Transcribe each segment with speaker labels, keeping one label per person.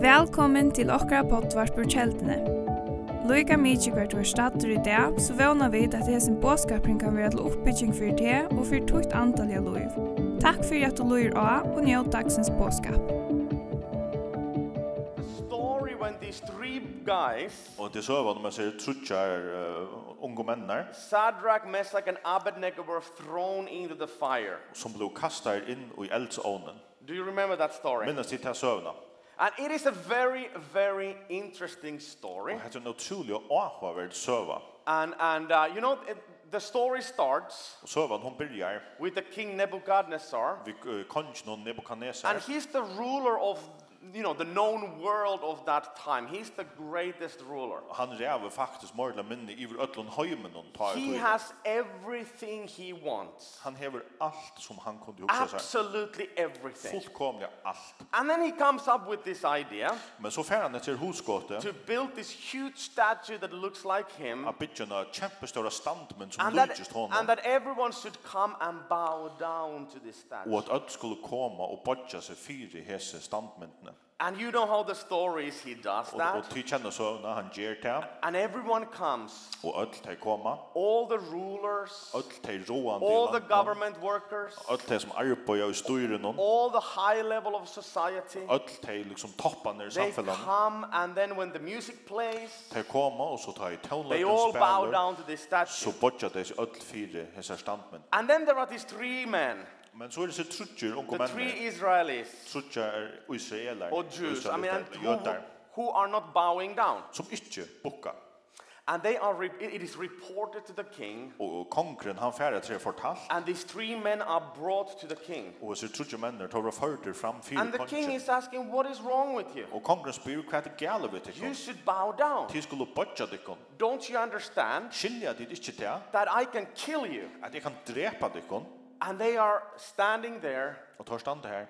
Speaker 1: Velkommen til okkara poddvarp ur kjeldene. Loika mykje hvert du er stater i dag, så vana vi at hesen båskapring kan være til oppbygging for det og for tukt antalliga loiv. Takk fyrir at du loir av og njød dagsens båskap.
Speaker 2: The story when these three guys,
Speaker 3: Og er til søvann, man ser trutjar uh, unge mennar
Speaker 2: Sadrach, Meshach, and Abednego, were thrown into the fire.
Speaker 3: som blev kastar inn i eldsånen.
Speaker 2: Do you remember that story?
Speaker 3: Minnes til til søvna.
Speaker 2: And it is a very, very interesting story.
Speaker 3: Og hette en utrolig og avhaverd søva.
Speaker 2: And, and uh, you know, it, the story starts
Speaker 3: Og søvan, hon byrjar
Speaker 2: with the king Nebuchadnezzar,
Speaker 3: vid uh, kongen og
Speaker 2: and
Speaker 3: Nebuchadnezzar.
Speaker 2: he's the ruler of, you know, the known world of that time. He's the greatest ruler.
Speaker 3: Han ræver faktisk morla minne iver ötlun høymen hon tar
Speaker 2: He has everything he wants.
Speaker 3: Han hever allt som han kunde hugsa seg.
Speaker 2: Absolutely everything.
Speaker 3: Fullkomliga allt.
Speaker 2: And then he comes up with this idea.
Speaker 3: Men så fer han etter husgåte
Speaker 2: to build this huge statue that looks like him
Speaker 3: av bytjana kjempestora standmenn som
Speaker 2: and that,
Speaker 3: lykist
Speaker 2: and
Speaker 3: honom.
Speaker 2: that everyone should come and bow down to this
Speaker 3: Og
Speaker 2: statue.
Speaker 3: at öll skulle koma og bodja seg fyrir hese standmyndene.
Speaker 2: And you know how the story is, he does
Speaker 3: Og,
Speaker 2: that.
Speaker 3: og ty kjenner søvna, han gjer til.
Speaker 2: And everyone comes,
Speaker 3: Og öll tei koma,
Speaker 2: all the rulers,
Speaker 3: öll tei roande
Speaker 2: all the government workers,
Speaker 3: öll tei som arbeider i styren og
Speaker 2: all the high level of society.
Speaker 3: öll tei liksom topparna i
Speaker 2: They
Speaker 3: samfällan.
Speaker 2: come and then when the music plays,
Speaker 3: Tei koma og så tei
Speaker 2: they
Speaker 3: tonlagen
Speaker 2: all bow
Speaker 3: spelur.
Speaker 2: down to this statue.
Speaker 3: Så bodja tei seg öll fyrir hese standmynd.
Speaker 2: And then there are these three men,
Speaker 3: Men så er det så trutjer unge
Speaker 2: the three
Speaker 3: menn.
Speaker 2: Israelis
Speaker 3: Trutjer er israeler.
Speaker 2: or Jews, I mean, and
Speaker 3: israelitar,
Speaker 2: who,
Speaker 3: jødar.
Speaker 2: who are not bowing down.
Speaker 3: Som ikke bukka.
Speaker 2: And they are re- it it is reported to the king,
Speaker 3: Og og kongren han færre til fortalt.
Speaker 2: and these three men are brought to the king.
Speaker 3: Og så trutjer menn er tåra førter fram
Speaker 2: And
Speaker 3: fyrir
Speaker 2: the king
Speaker 3: kongren.
Speaker 2: is asking, What is wrong with you?
Speaker 3: Og kongren spyr hva er det gale vet
Speaker 2: You
Speaker 3: ikkon.
Speaker 2: should bow down.
Speaker 3: Tid skulle bodja dikkon.
Speaker 2: Don't you understand
Speaker 3: Skilja dit ikkje til
Speaker 2: that I can kill you?
Speaker 3: at jeg kan drepa dikkon.
Speaker 2: And they are standing there
Speaker 3: Og tar stand her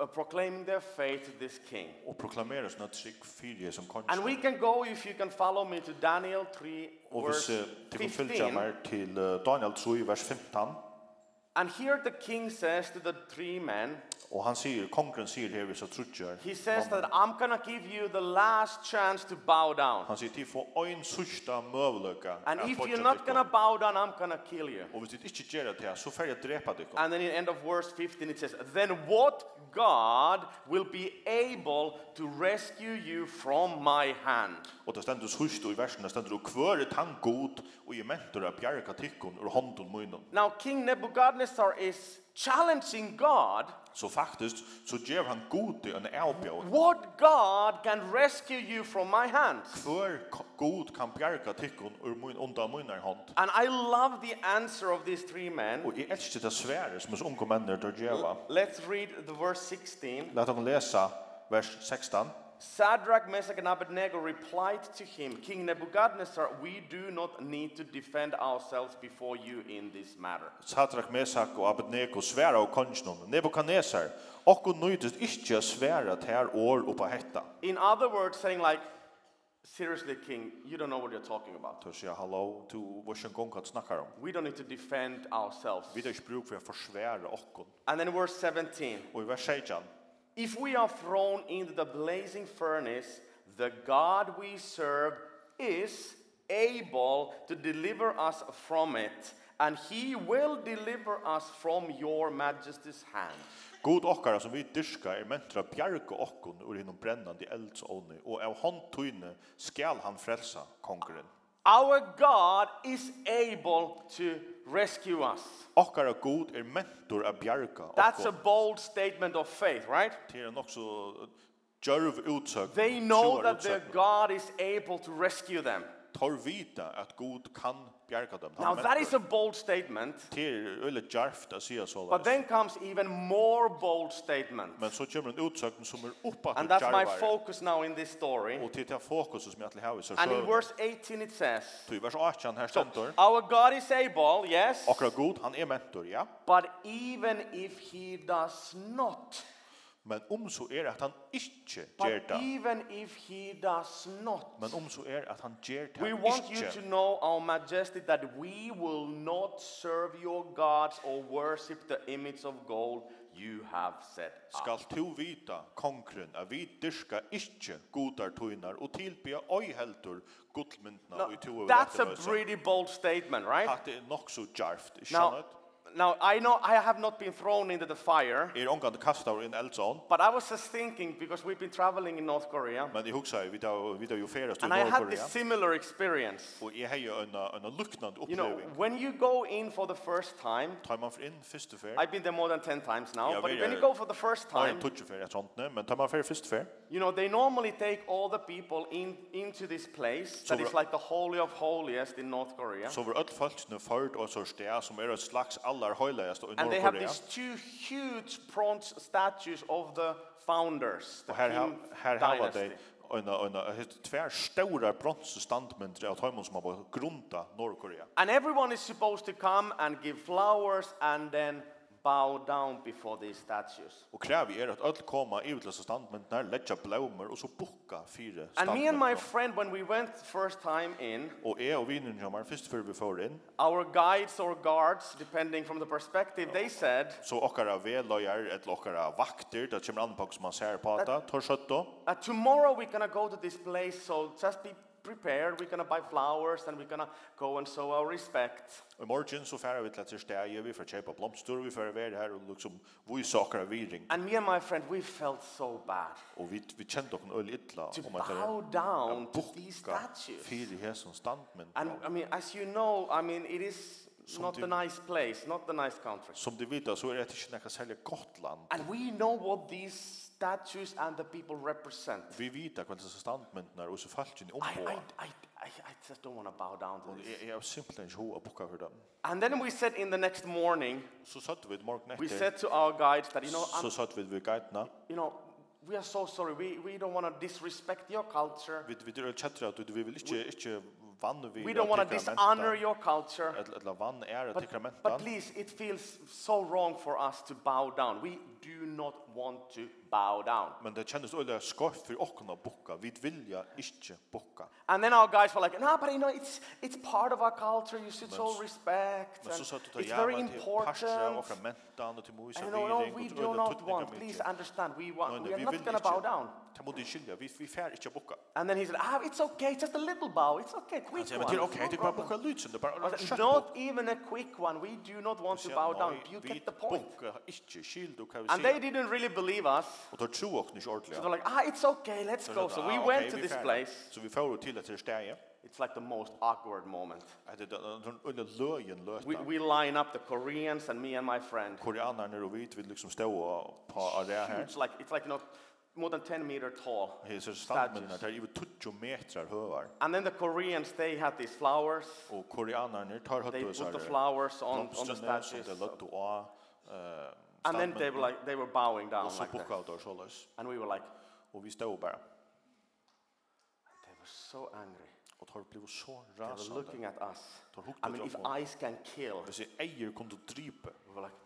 Speaker 2: uh, proclaiming their faith to this king.
Speaker 3: og proklamerer sånn at trygg fyrir som kongen.
Speaker 2: And we can go, if you can follow me, to Daniel 3,
Speaker 3: og hvis
Speaker 2: verse
Speaker 3: eh, til vi følger
Speaker 2: 15.
Speaker 3: meg til eh, Daniel 3, vers 15,
Speaker 2: And here the king says to the three men,
Speaker 3: og han sier, kongren sier her hvis jeg trudger,
Speaker 2: He says that I'm going to give you the last chance to bow down.
Speaker 3: han sier, til få ein sørsta møvløka.
Speaker 2: And if you're not going to bow down, I'm going to kill you.
Speaker 3: Og hvis du ikke gjør det her, så får jeg drepa dikkon.
Speaker 2: And then in the end of verse 15 it says, Then what God will be able to rescue you from my hand?
Speaker 3: Og det stendur sørst og i versen, det stendur, hver er han god, og jeg mentor av bjerga tikkon ur hånden munnen.
Speaker 2: Now King Nebuchadnezzar is challenging God.
Speaker 3: Så faktisk, så gjør han god i en avbjørn.
Speaker 2: What God can rescue you from my hand?
Speaker 3: Hver ko- god kan bjerga tikkon ur mun, undan munnar hånd.
Speaker 2: And I love the answer of these three men.
Speaker 3: Og jeg elsker det svære som hans unge menn er til å gjøre.
Speaker 2: Let's read the verse 16.
Speaker 3: Lät hon läsa vers 16.
Speaker 2: Sadrach, Meshach, and Abednego replied to him, King Nebuchadnezzar, we do not need to defend ourselves before you in this matter.
Speaker 3: Satrak Mesak og Abednego sværa og kongen Nebukadnesar. Okko nøytist ikkje at sværa tær år oppa hetta.
Speaker 2: In other words, saying like, seriously, King, you don't know what you're talking about.
Speaker 3: Tør sier hallo, du var sjøn gong at um. snakkar om.
Speaker 2: We don't need to defend ourselves.
Speaker 3: Vi tar ikkje bruk for å forsværa okkon.
Speaker 2: And then verse 17.
Speaker 3: Og i vers 16.
Speaker 2: If we are thrown into the blazing furnace, the God we serve is able to deliver us from it, and he will deliver us from your majesty's hand.
Speaker 3: God okkara som vi dyrka er mentra bjarga okkon ur hinnom brennandi eldsåni og av hånd tøyne skal han frelsa kongren.
Speaker 2: Our God is able to rescue us.
Speaker 3: Okkara god er mentor av bjarga
Speaker 2: That's a
Speaker 3: okkon.
Speaker 2: bold statement of faith, right?
Speaker 3: Det er nok så djørv utsøk.
Speaker 2: They know that their God is able to rescue them.
Speaker 3: tar vita at god kan bjerga dem.
Speaker 2: Now, that is a bold statement,
Speaker 3: til öle jarft att säga så
Speaker 2: but then comes even more bold statement.
Speaker 3: Men så kommer en utsökning som är uppåt
Speaker 2: And that's my focus now in this story.
Speaker 3: Och till det fokus som jag alltid har i så
Speaker 2: And in
Speaker 3: själv.
Speaker 2: verse 18 it says,
Speaker 3: Ty vers 18 här stentor.
Speaker 2: Our God is able, yes,
Speaker 3: Akra god, han är mentor, er ja.
Speaker 2: but even if he does not,
Speaker 3: Men um er om så är det att han inte ger
Speaker 2: but
Speaker 3: det.
Speaker 2: even if he does not,
Speaker 3: Men um om så är det att han ger det
Speaker 2: We want you to know, our majesty, that we will not serve your gods or worship the image of gold you have set up.
Speaker 3: Skal tu vita, kongren, at vi dyrka ikkje godar tøynar og tilbya oi heldur gudmyndna
Speaker 2: Now,
Speaker 3: og i tu og
Speaker 2: that's a pretty bold statement, right?
Speaker 3: Hatt er nok så djarft,
Speaker 2: Now,
Speaker 3: skjønnet?
Speaker 2: now I know I have not been thrown into the fire,
Speaker 3: Er omgang kastar inn eldsån,
Speaker 2: but I was just thinking because we've been traveling in North Korea,
Speaker 3: men i hugsa vi da vi da jo ferast i
Speaker 2: and I had this
Speaker 3: Nordkorea.
Speaker 2: similar experience.
Speaker 3: Og jeg hei en en luknand
Speaker 2: You know,
Speaker 3: oppleving.
Speaker 2: when you go in for the first time,
Speaker 3: Tar man for inn første fer.
Speaker 2: I've been there more than 10 times now,
Speaker 3: Yeah,
Speaker 2: but
Speaker 3: we
Speaker 2: when
Speaker 3: are-
Speaker 2: you go for the first
Speaker 3: Har en
Speaker 2: time,
Speaker 3: tutje fer et sånt, ne, men tar man fer første fer.
Speaker 2: you know, they normally take all the people in, into this place that
Speaker 3: So
Speaker 2: is
Speaker 3: we're-
Speaker 2: like the holy of holiest in North Korea.
Speaker 3: Så var öll folkene ført og så sted som er et slags allar høyligast i
Speaker 2: And they have
Speaker 3: Nordkorea.
Speaker 2: these two huge bronze statues of the founders, the
Speaker 3: Og her,
Speaker 2: Kim
Speaker 3: ha- her hava
Speaker 2: dynasty.
Speaker 3: dei øyna, øyna, hett tvær stóra bronsestandmyndir av tøymon som hava grunda Nordkorea.
Speaker 2: And everyone is supposed to come and give flowers and then bow down before these statues.
Speaker 3: Og krevi er at öll koma yvir til dessa standmyndirnar, leggja blómur og så bukka fyrir
Speaker 2: And me and my
Speaker 3: standmyndirnar.
Speaker 2: friend, when we went first time in,
Speaker 3: Og jeg og vinen hjá mar fyrst fyrir vi fór inn,
Speaker 2: our guides or guards, depending from the perspective, they said
Speaker 3: så okkara veløyar eller okkara vakter, det kemur an på som man ser på det, tar søtt då.
Speaker 2: Uh, tomorrow we're gonna go to this place, so just be prepared. We're gonna buy flowers and we're gonna go and show our respect.
Speaker 3: Og i morgen så færa vi til et steg, vi får kjepa blomstur, vi får være her og liksom vise okkara viring.
Speaker 2: And me and my friend, we felt so bad
Speaker 3: Og vi, vi kjente okken øyla illa um
Speaker 2: to
Speaker 3: om at det
Speaker 2: bow down to these
Speaker 3: bukka
Speaker 2: statues.
Speaker 3: fyrir hesson standmynd.
Speaker 2: And I mean, as you know, I mean, it is not a
Speaker 3: Something-
Speaker 2: nice place, not a nice country.
Speaker 3: Som de vita så er det ikke nekka særlig gott land.
Speaker 2: And we know what these statues and the people represent.
Speaker 3: Vi vita hva disse standmyndene er, og så falsk inn
Speaker 2: I, I,
Speaker 3: ombå.
Speaker 2: I, I, I just don't want to bow down to this.
Speaker 3: Jeg er simpelthen ikke hoa bukka for dem.
Speaker 2: And then we said in the next morning,
Speaker 3: Så satt vi et morgen
Speaker 2: we
Speaker 3: etter,
Speaker 2: said to our guides that, you know, I'm
Speaker 3: så satt vi ved guidene.
Speaker 2: you know, we are so sorry. We, we don't want to disrespect your culture.
Speaker 3: Vi vi er kjettere at vi vil ikke, ikke vann vi
Speaker 2: We don't want to dishonor your culture.
Speaker 3: Eller vann er
Speaker 2: But, but
Speaker 3: tikramenten.
Speaker 2: please, it feels so wrong for us to bow down. We do not want to bow down.
Speaker 3: Men det kjennes øyla skarft for okken å bukka. Vi vilja ikke bukka.
Speaker 2: And then our guys were like, no, but you know, it's, it's part of our culture. You should
Speaker 3: Men
Speaker 2: show
Speaker 3: s-
Speaker 2: respect.
Speaker 3: Men så
Speaker 2: And
Speaker 3: satt du
Speaker 2: it's
Speaker 3: ta
Speaker 2: very
Speaker 3: jævla til parstra og
Speaker 2: important.
Speaker 3: fra mentan og til moisa
Speaker 2: And you
Speaker 3: viring.
Speaker 2: know, no, we
Speaker 3: og til
Speaker 2: do
Speaker 3: øyla
Speaker 2: not
Speaker 3: tutninga
Speaker 2: want.
Speaker 3: mykje.
Speaker 2: Please understand. We,
Speaker 3: Nei,
Speaker 2: want,
Speaker 3: nei,
Speaker 2: we are
Speaker 3: vi
Speaker 2: not
Speaker 3: vil
Speaker 2: going to
Speaker 3: ikke.
Speaker 2: bow down.
Speaker 3: Det må du skilja. Vi, vi fær ikke å bukka.
Speaker 2: And then he said, ah, it's okay. Just a little bow. It's okay.
Speaker 3: Han
Speaker 2: Quick
Speaker 3: sier,
Speaker 2: one.
Speaker 3: men
Speaker 2: it's
Speaker 3: til, ok,
Speaker 2: no
Speaker 3: det er bare
Speaker 2: problem."
Speaker 3: bukka lydsen. Det er
Speaker 2: Well,
Speaker 3: bare
Speaker 2: th-
Speaker 3: skjøtt bukka.
Speaker 2: Not even a quick one. We do not want to
Speaker 3: Sier,
Speaker 2: bow
Speaker 3: nei,
Speaker 2: down. You
Speaker 3: vi
Speaker 2: get the point.
Speaker 3: Bukka, ikke skild, du kan vi
Speaker 2: And they
Speaker 3: sier.
Speaker 2: didn't really believe us.
Speaker 3: Og da tror okken ikke
Speaker 2: So they're
Speaker 3: ordentlig.
Speaker 2: like, ah, it's okay, let's
Speaker 3: Så
Speaker 2: go.
Speaker 3: det-
Speaker 2: So
Speaker 3: ah,
Speaker 2: we
Speaker 3: ok,
Speaker 2: went to
Speaker 3: vi
Speaker 2: this
Speaker 3: fær.
Speaker 2: place.
Speaker 3: Så vi fær til etter steg.
Speaker 2: It's like the most awkward moment.
Speaker 3: Det er under løyen
Speaker 2: We,
Speaker 3: løta.
Speaker 2: we line up the Koreans and me and my friend.
Speaker 3: Koreanerne og vi vil liksom stå og på area her.
Speaker 2: It's like, it's like, you know, more than 10 meter tall.
Speaker 3: Hesar
Speaker 2: Statues.
Speaker 3: standmyndar, det er iver 20 metrar høvar.
Speaker 2: And then the Koreans, they had these flowers.
Speaker 3: Og koreanerne tar høttu
Speaker 2: They
Speaker 3: hesar
Speaker 2: put the flowers on, on the
Speaker 3: blomstrene som
Speaker 2: statues.
Speaker 3: det er løttu av eh,
Speaker 2: And then they were
Speaker 3: standmyndene.
Speaker 2: like, "Oh they were bowing down
Speaker 3: Og så
Speaker 2: like that.
Speaker 3: bukka av der såles.
Speaker 2: And we were like,
Speaker 3: Og vi stod bare.
Speaker 2: they were so angry.
Speaker 3: Og tar blivet så
Speaker 2: They were
Speaker 3: rasande.
Speaker 2: looking at us.
Speaker 3: Tar hukta
Speaker 2: I mean, if
Speaker 3: droppa.
Speaker 2: eyes can kill,
Speaker 3: Hvis jeg eier kom til å drype.
Speaker 2: We were like,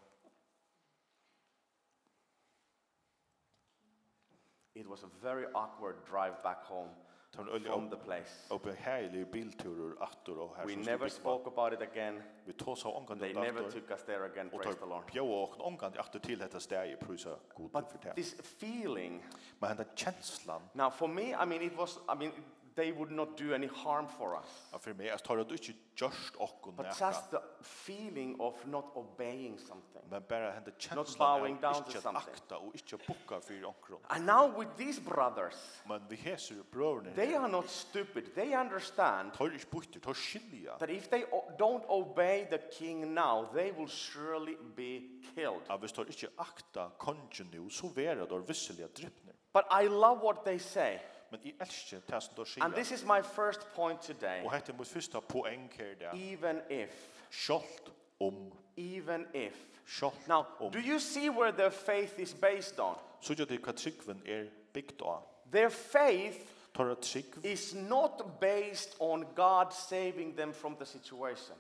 Speaker 2: it was a very awkward drive back home
Speaker 3: Det var en øyelig
Speaker 2: from
Speaker 3: opp-
Speaker 2: the place.
Speaker 3: oppeheilig bilturer attur og her
Speaker 2: We
Speaker 3: som
Speaker 2: never
Speaker 3: stod bygma.
Speaker 2: spoke about it again.
Speaker 3: Vi tås av omgang
Speaker 2: They
Speaker 3: til
Speaker 2: never
Speaker 3: attur.
Speaker 2: took us there again,
Speaker 3: Og
Speaker 2: praise the
Speaker 3: tar
Speaker 2: Lord.
Speaker 3: bjóa okkur omgang til attur til dette steg i prusa god for
Speaker 2: But
Speaker 3: det.
Speaker 2: this feeling,
Speaker 3: Men henda kjenslan
Speaker 2: now for me, I mean, it was, I mean, they would not do any harm for us.
Speaker 3: at for meg, jeg tar at du ikke gjørst okkur
Speaker 2: But
Speaker 3: nekka.
Speaker 2: just the feeling of not obeying something.
Speaker 3: Men bara hända
Speaker 2: bowing
Speaker 3: känslan
Speaker 2: down
Speaker 3: av
Speaker 2: to
Speaker 3: inte att
Speaker 2: something.
Speaker 3: akta och inte bocka för omkron.
Speaker 2: And now with these brothers,
Speaker 3: Men vi heser ju bröderna.
Speaker 2: they
Speaker 3: här.
Speaker 2: are not stupid. They understand
Speaker 3: tar inte bort, tar skilja.
Speaker 2: that if they o- don't obey the king now, they will surely be killed.
Speaker 3: Att vi tar inte akta kongen nu så vera då visseliga dryppner.
Speaker 2: But I love what they say.
Speaker 3: Men i älskar det som då
Speaker 2: And this
Speaker 3: skilja.
Speaker 2: is my first point today.
Speaker 3: Och hette mot första poäng här där.
Speaker 2: Even if,
Speaker 3: Skolt om
Speaker 2: even if.
Speaker 3: skolt
Speaker 2: Now,
Speaker 3: om.
Speaker 2: do you see where their faith is based on?
Speaker 3: Så jag det vad trikven är er byggt av.
Speaker 2: Their faith
Speaker 3: Tar att trikv
Speaker 2: is not based on God saving them from the situation.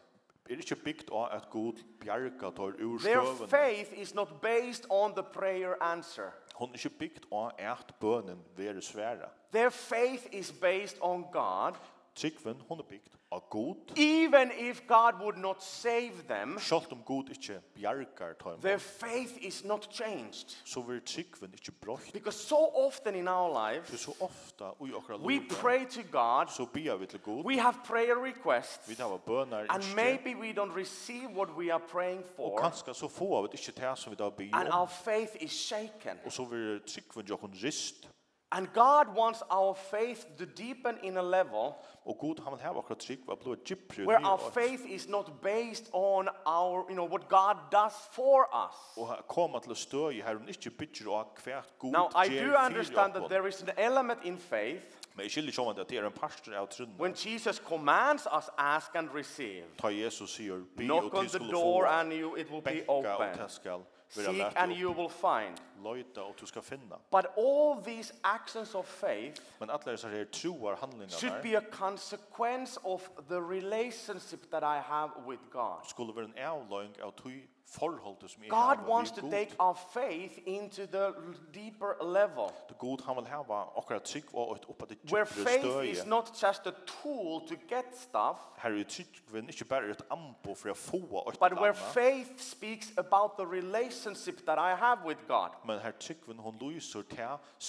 Speaker 3: är inte er byggt av att god bjarga tar ur
Speaker 2: Their
Speaker 3: stöven.
Speaker 2: faith is not based on the prayer answer.
Speaker 3: Hon er är inte byggt av att bönen vera svära.
Speaker 2: Their faith is based on God
Speaker 3: Tryggven, hon er bygd av god.
Speaker 2: Even if God would not save them,
Speaker 3: Sjalt om god ikkje um bjargar
Speaker 2: their
Speaker 3: tøymon,
Speaker 2: faith is not changed.
Speaker 3: så vil tryggven ikkje brøyt.
Speaker 2: Because so often in our
Speaker 3: For
Speaker 2: lives,
Speaker 3: så er ofta ui okra
Speaker 2: we
Speaker 3: lover,
Speaker 2: pray to God,
Speaker 3: så bia vi til god.
Speaker 2: we have prayer requests,
Speaker 3: Vi hava bønar
Speaker 2: and
Speaker 3: ikkje.
Speaker 2: maybe we don't receive what we are praying
Speaker 3: Og
Speaker 2: for,
Speaker 3: kanska så få av det ikkje det som vi da bia
Speaker 2: and our
Speaker 3: om.
Speaker 2: faith is shaken.
Speaker 3: Og så vil tryggven jo kun rist.
Speaker 2: And God wants our faith to deepen in a level
Speaker 3: Og god han vil hava okra tryggva blod gypri
Speaker 2: where our faith is not based on our, you know, what God does for us.
Speaker 3: Og ha- koma til støy her hun ikkje bytjer av hvert god
Speaker 2: Now, I
Speaker 3: ger
Speaker 2: do
Speaker 3: fyrir
Speaker 2: understand that
Speaker 3: okkum.
Speaker 2: there is an element in faith
Speaker 3: Men jeg skiljer ikke om at det er en pastor av trunna.
Speaker 2: when Jesus commands us ask and receive.
Speaker 3: Ta Jesus sier, be og
Speaker 2: Knock on
Speaker 3: til
Speaker 2: the
Speaker 3: skulle
Speaker 2: door
Speaker 3: få
Speaker 2: and you, it will be
Speaker 3: benka og
Speaker 2: open.
Speaker 3: til skal være
Speaker 2: Seek and
Speaker 3: lett
Speaker 2: you will find.
Speaker 3: og løyta og du skal finna.
Speaker 2: But all these actions of faith
Speaker 3: Men alle disse her troar
Speaker 2: should
Speaker 3: handlingarna
Speaker 2: be a consequence of the relationship that I have with God.
Speaker 3: skulle være en avløyng av tui forholdet som jeg har
Speaker 2: God wants
Speaker 3: med
Speaker 2: to
Speaker 3: god.
Speaker 2: take our faith into the deeper level
Speaker 3: Det god han vil hava akkurat trygg og et oppa til
Speaker 2: where
Speaker 3: djupere
Speaker 2: faith
Speaker 3: støye.
Speaker 2: is not just a tool to get stuff,
Speaker 3: Her er tryggven ikke bare et ambo for å få et
Speaker 2: but where
Speaker 3: anna,
Speaker 2: faith speaks about the relationship that I have with God.
Speaker 3: men her tryggven hon lyser til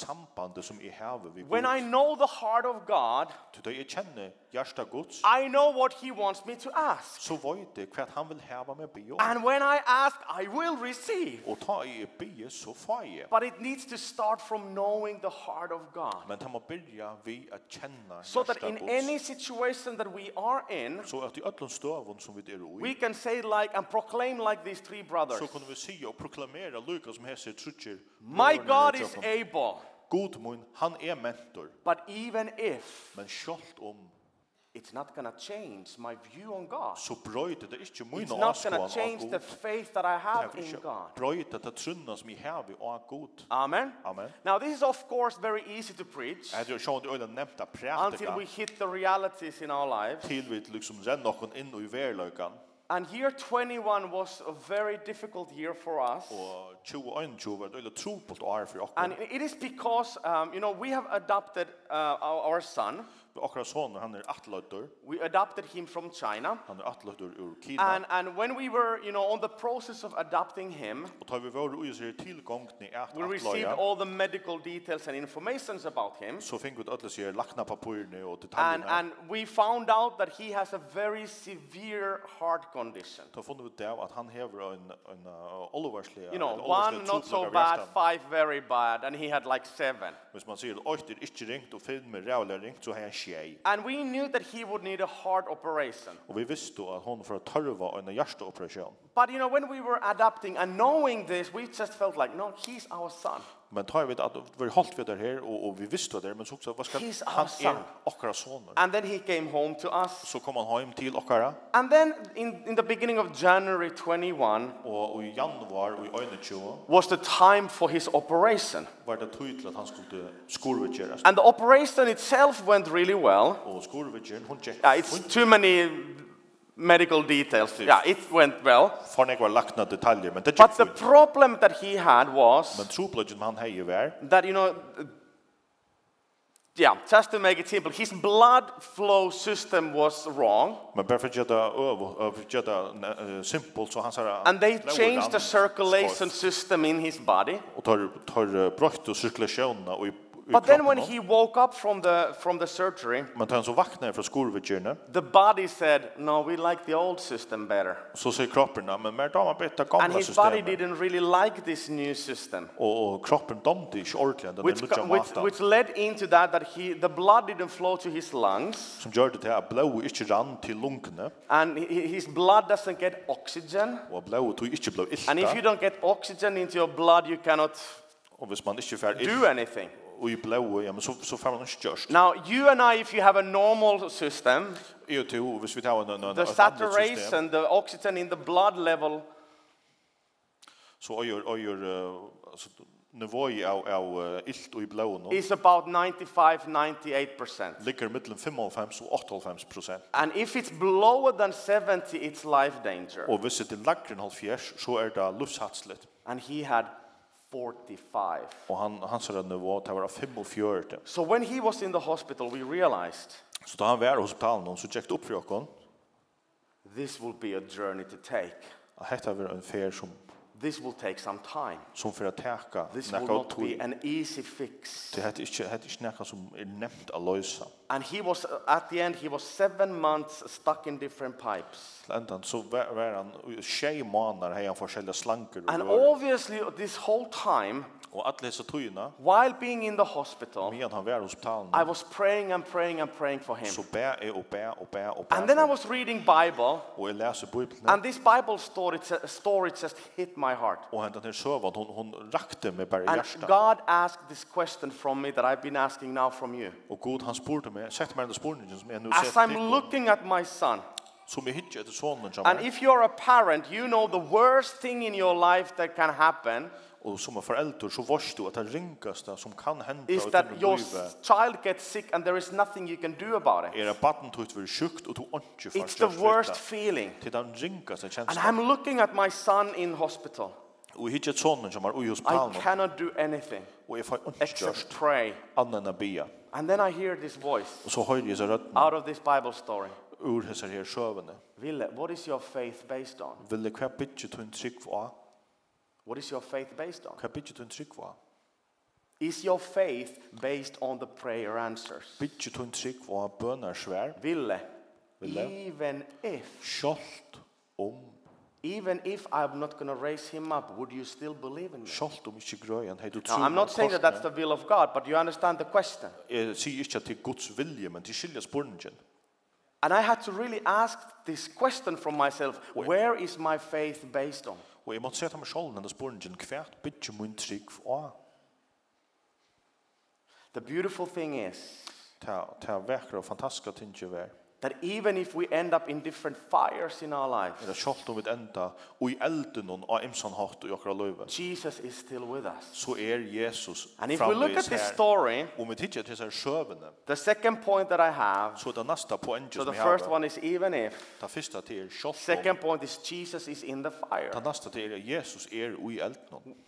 Speaker 3: sambandet som jeg har vi
Speaker 2: When I
Speaker 3: god.
Speaker 2: know the heart of God,
Speaker 3: Til da jeg kjenner hjärsta gods,
Speaker 2: I know what He wants me to ask.
Speaker 3: så vet jeg hva han vil hava med be om.
Speaker 2: And when I ask, I will receive.
Speaker 3: Og ta i bie så får jeg.
Speaker 2: But it needs to start from knowing the heart of God.
Speaker 3: Men det må byrja vi at kjenna
Speaker 2: So that in
Speaker 3: hjarta
Speaker 2: any
Speaker 3: Guds.
Speaker 2: situation that we are in,
Speaker 3: Så at i öllum stövun som vi er
Speaker 2: we
Speaker 3: ui,
Speaker 2: can say like and proclaim like these three brothers.
Speaker 3: så kunne vi sige og proklamera Lukas som hesser trutjer.
Speaker 2: My God
Speaker 3: brødrene
Speaker 2: is
Speaker 3: Jakob.
Speaker 2: able.
Speaker 3: God mun, han er mentor.
Speaker 2: But even if
Speaker 3: Men sjalt om
Speaker 2: it's not going to change my view on God,
Speaker 3: så brøyde det ikke
Speaker 2: it's
Speaker 3: mine
Speaker 2: not
Speaker 3: avskoan
Speaker 2: going
Speaker 3: av
Speaker 2: to change the
Speaker 3: god.
Speaker 2: faith that I
Speaker 3: Det
Speaker 2: have
Speaker 3: vil
Speaker 2: in
Speaker 3: ikke
Speaker 2: God.
Speaker 3: brøyde det trunna som jeg har vi av god.
Speaker 2: Amen.
Speaker 3: Amen.
Speaker 2: Now, this is, of course, very easy to preach
Speaker 3: Jeg tror sjående øyne nevnt at
Speaker 2: until
Speaker 3: prætika
Speaker 2: we hit the realities in our lives.
Speaker 3: til vi liksom renn noen inn i verløykan.
Speaker 2: And year 21 was a very difficult year for us.
Speaker 3: Og 2021 var det øyne trupult år for
Speaker 2: And
Speaker 3: okkur.
Speaker 2: it is because, um, you know, we have adopted uh, our, our son.
Speaker 3: Okra son, han er atløyder.
Speaker 2: We adopted him from China.
Speaker 3: Han er atløyder ur Kina.
Speaker 2: And, and when we were, you know, on the process of adopting him,
Speaker 3: Og tar vi våre ui seg tilgångni at
Speaker 2: we received
Speaker 3: atløya,
Speaker 2: all the medical details and informations about him.
Speaker 3: så fink vi ötla seg lakna papurne og
Speaker 2: And,
Speaker 3: detaljene.
Speaker 2: and we found out that he has a very severe heart condition.
Speaker 3: Ta funnet vi det at han hever en, en uh, olvarslige,
Speaker 2: You know, one not so bad, five very bad, and he had like seven.
Speaker 3: Hvis man sier, oi, det er ikke ringt, og finn med rævlig ringt, så har jeg tjei.
Speaker 2: And we knew that he would need a heart operation.
Speaker 3: Og vi visste at hon for å tarva en hjerteoperasjon.
Speaker 2: But you know, when we were adopting and knowing this, we just felt like, no, he's our son.
Speaker 3: Men tar vi det at vi holdt vi der her, og, og vi visste det, men så også, hva skal
Speaker 2: He's
Speaker 3: han
Speaker 2: our
Speaker 3: er
Speaker 2: son.
Speaker 3: okra soner.
Speaker 2: And then he came home to us.
Speaker 3: Så kom han heim til okkara,
Speaker 2: And then in, in the beginning of January 21
Speaker 3: og i januar og i øyne 20
Speaker 2: was the time for his operation.
Speaker 3: var det tydelig at han skulle skurvetjeres.
Speaker 2: And the operation itself went really well.
Speaker 3: Og skurvetjeren, hun tjekk,
Speaker 2: Yeah, it's
Speaker 3: hun
Speaker 2: too many medical details. Yeah, it went well.
Speaker 3: For nek var lakna detaljer, men
Speaker 2: But
Speaker 3: det tjekk
Speaker 2: the
Speaker 3: vi.
Speaker 2: problem that he had was
Speaker 3: Men trobladjen han hei vær,
Speaker 2: that, you know, uh, yeah, just to make it simple, his blood flow system was wrong.
Speaker 3: men bare for gjetta øv, øv, gjetta eh, simpelt, så han sara...
Speaker 2: And they
Speaker 3: lauer
Speaker 2: changed
Speaker 3: han
Speaker 2: the circulation
Speaker 3: skoiv,
Speaker 2: system in his body.
Speaker 3: Og tar, tar eh, brøkt og cirkulasjona og i, i
Speaker 2: But then when
Speaker 3: kroppen.
Speaker 2: he woke up from the, from the surgery,
Speaker 3: Men tar han så vakna fra skurvedgjerne,
Speaker 2: the body said, no, we like the old system better.
Speaker 3: så sier kroppen, "Ja, men mer dama betta
Speaker 2: And
Speaker 3: gamla
Speaker 2: his body
Speaker 3: systemet.
Speaker 2: didn't really like this new system.
Speaker 3: Og, og kroppen damte ikke ordentlig enn
Speaker 2: Which,
Speaker 3: den
Speaker 2: co-
Speaker 3: nutja
Speaker 2: which,
Speaker 3: matan.
Speaker 2: which led into that, that he, the blood didn't flow to his lungs,
Speaker 3: Som gjør det til at blå ikke rann til lungene,
Speaker 2: and he- his blood doesn't get oxygen.
Speaker 3: og blå tog ikke blå
Speaker 2: And if you
Speaker 3: ilta.
Speaker 2: don't get oxygen into your blood, you cannot
Speaker 3: Og hvis man ikke fer
Speaker 2: do
Speaker 3: ilt
Speaker 2: anything.
Speaker 3: og i blå, ja, men så, så fer man ikke gjørst.
Speaker 2: Now, you and I, if you have a normal system,
Speaker 3: EU to hvis vi tar en en
Speaker 2: the
Speaker 3: ett annat system
Speaker 2: saturation, the oxygen in the blood level
Speaker 3: så gör och gör alltså nivå i av av illt och i blå nu
Speaker 2: is about 95, 98%.
Speaker 3: ligger mellan 55 och 98 procent.
Speaker 2: And if it's lower than 70, it's life danger.
Speaker 3: Och hvis det är lägre än 70 så är det livshatsligt.
Speaker 2: And he had 45.
Speaker 3: Og han, hans rønne var, det var 45.
Speaker 2: So when he was in the hospital, we realized
Speaker 3: Så da han var i hospitalen, så tjekket opp for okken,
Speaker 2: this will be a journey to take.
Speaker 3: at dette var en fer som,
Speaker 2: This will take some time.
Speaker 3: som for å teka
Speaker 2: This will
Speaker 3: nekka og
Speaker 2: not
Speaker 3: tog.
Speaker 2: be an easy fix.
Speaker 3: Det hette ikke, hette ikke nekka som er nevnt å løse.
Speaker 2: And he was, uh, at the end, he was seven months stuck in different pipes.
Speaker 3: Til enden så var, var han i tjej måneder hei han forskjellige slanker og
Speaker 2: And
Speaker 3: rør.
Speaker 2: obviously, this whole time,
Speaker 3: Og alle disse togene,
Speaker 2: while being in the hospital,
Speaker 3: medan han var i hospitalen,
Speaker 2: I was praying and praying and praying for him.
Speaker 3: så bæ jeg og bæ og bæ og bæ.
Speaker 2: And then I was reading Bible,
Speaker 3: Og jeg leser Bibelen,
Speaker 2: and this Bible story, story just hit my heart.
Speaker 3: og hentan her søvann, hun, hun rakte meg bare i
Speaker 2: And
Speaker 3: hjertet.
Speaker 2: God asked this question from me that I've been asking now from you.
Speaker 3: Og Gud, han spurte meg, sett meg den spurningen som jeg nå
Speaker 2: As
Speaker 3: sett
Speaker 2: I'm
Speaker 3: til,
Speaker 2: looking at my son,
Speaker 3: som jeg hittet etter sonen som
Speaker 2: and
Speaker 3: er,
Speaker 2: if you're a parent, you know the worst thing in your life that can happen
Speaker 3: og som er forelder, så varst du at det ringaste som kan hente
Speaker 2: is
Speaker 3: og
Speaker 2: that
Speaker 3: denne
Speaker 2: your
Speaker 3: livet,
Speaker 2: child gets sick and there is nothing you can do about
Speaker 3: er
Speaker 2: it.
Speaker 3: at baden tog være sjukt, og du ikke får
Speaker 2: It's the
Speaker 3: kjørt
Speaker 2: worst
Speaker 3: vita.
Speaker 2: feeling.
Speaker 3: Til den ringaste
Speaker 2: And
Speaker 3: kjenslen.
Speaker 2: I'm looking at my son in hospital.
Speaker 3: Og jeg hittet etter sonen som er ui hos
Speaker 2: I
Speaker 3: palmen,
Speaker 2: cannot do anything
Speaker 3: og jeg får ikke
Speaker 2: except
Speaker 3: kjørt
Speaker 2: pray.
Speaker 3: annen enn å bia.
Speaker 2: And then I hear this voice
Speaker 3: Og så høyre jeg så røttene
Speaker 2: out of this Bible story.
Speaker 3: ur hese her sjøvene.
Speaker 2: Ville, what is your faith based on?
Speaker 3: Ville hva bytje tog en trygg var?
Speaker 2: What is your faith based on?
Speaker 3: Hva bytje tog en trygg var?
Speaker 2: Is your faith based on the prayer answers?
Speaker 3: Bytje tog en trygg var bønner svær,
Speaker 2: Ville,
Speaker 3: Ville.
Speaker 2: even if,
Speaker 3: kjølt om
Speaker 2: even if I'm not going to raise him up, would you still believe in me?
Speaker 3: Sjalt om ikke grøyen, hei du
Speaker 2: Now,
Speaker 3: tror
Speaker 2: I'm not saying that that's the will of God, but you understand the question.
Speaker 3: Jeg sier ikke at det er Guds vilje, men til skilja spurningen.
Speaker 2: And I had to really ask this question from myself where is my faith based on?
Speaker 3: Og jeg måtte se til meg sjålen denne spurningen, hvert bytje mun trygg av.
Speaker 2: The beautiful thing is
Speaker 3: Ta, ta vekra og fantastiska tinge vær.
Speaker 2: that even if we end up in different fires in our lives,
Speaker 3: Eller sjalt Er om vi enda, og i elden og av imsan hatt og i okra løyve,
Speaker 2: Jesus is still with us.
Speaker 3: så er Jesus
Speaker 2: And if we look at
Speaker 3: framvis
Speaker 2: this
Speaker 3: her.
Speaker 2: story,
Speaker 3: Om vi tidser til disse sjøvene,
Speaker 2: the second point that I have,
Speaker 3: så er det neste poenget
Speaker 2: so
Speaker 3: som
Speaker 2: the
Speaker 3: jeg
Speaker 2: first
Speaker 3: har.
Speaker 2: one is even if.
Speaker 3: Ta første til er sjalt
Speaker 2: Second
Speaker 3: om.
Speaker 2: point is Jesus is in the fire.
Speaker 3: Ta neste til er Jesus er i elden.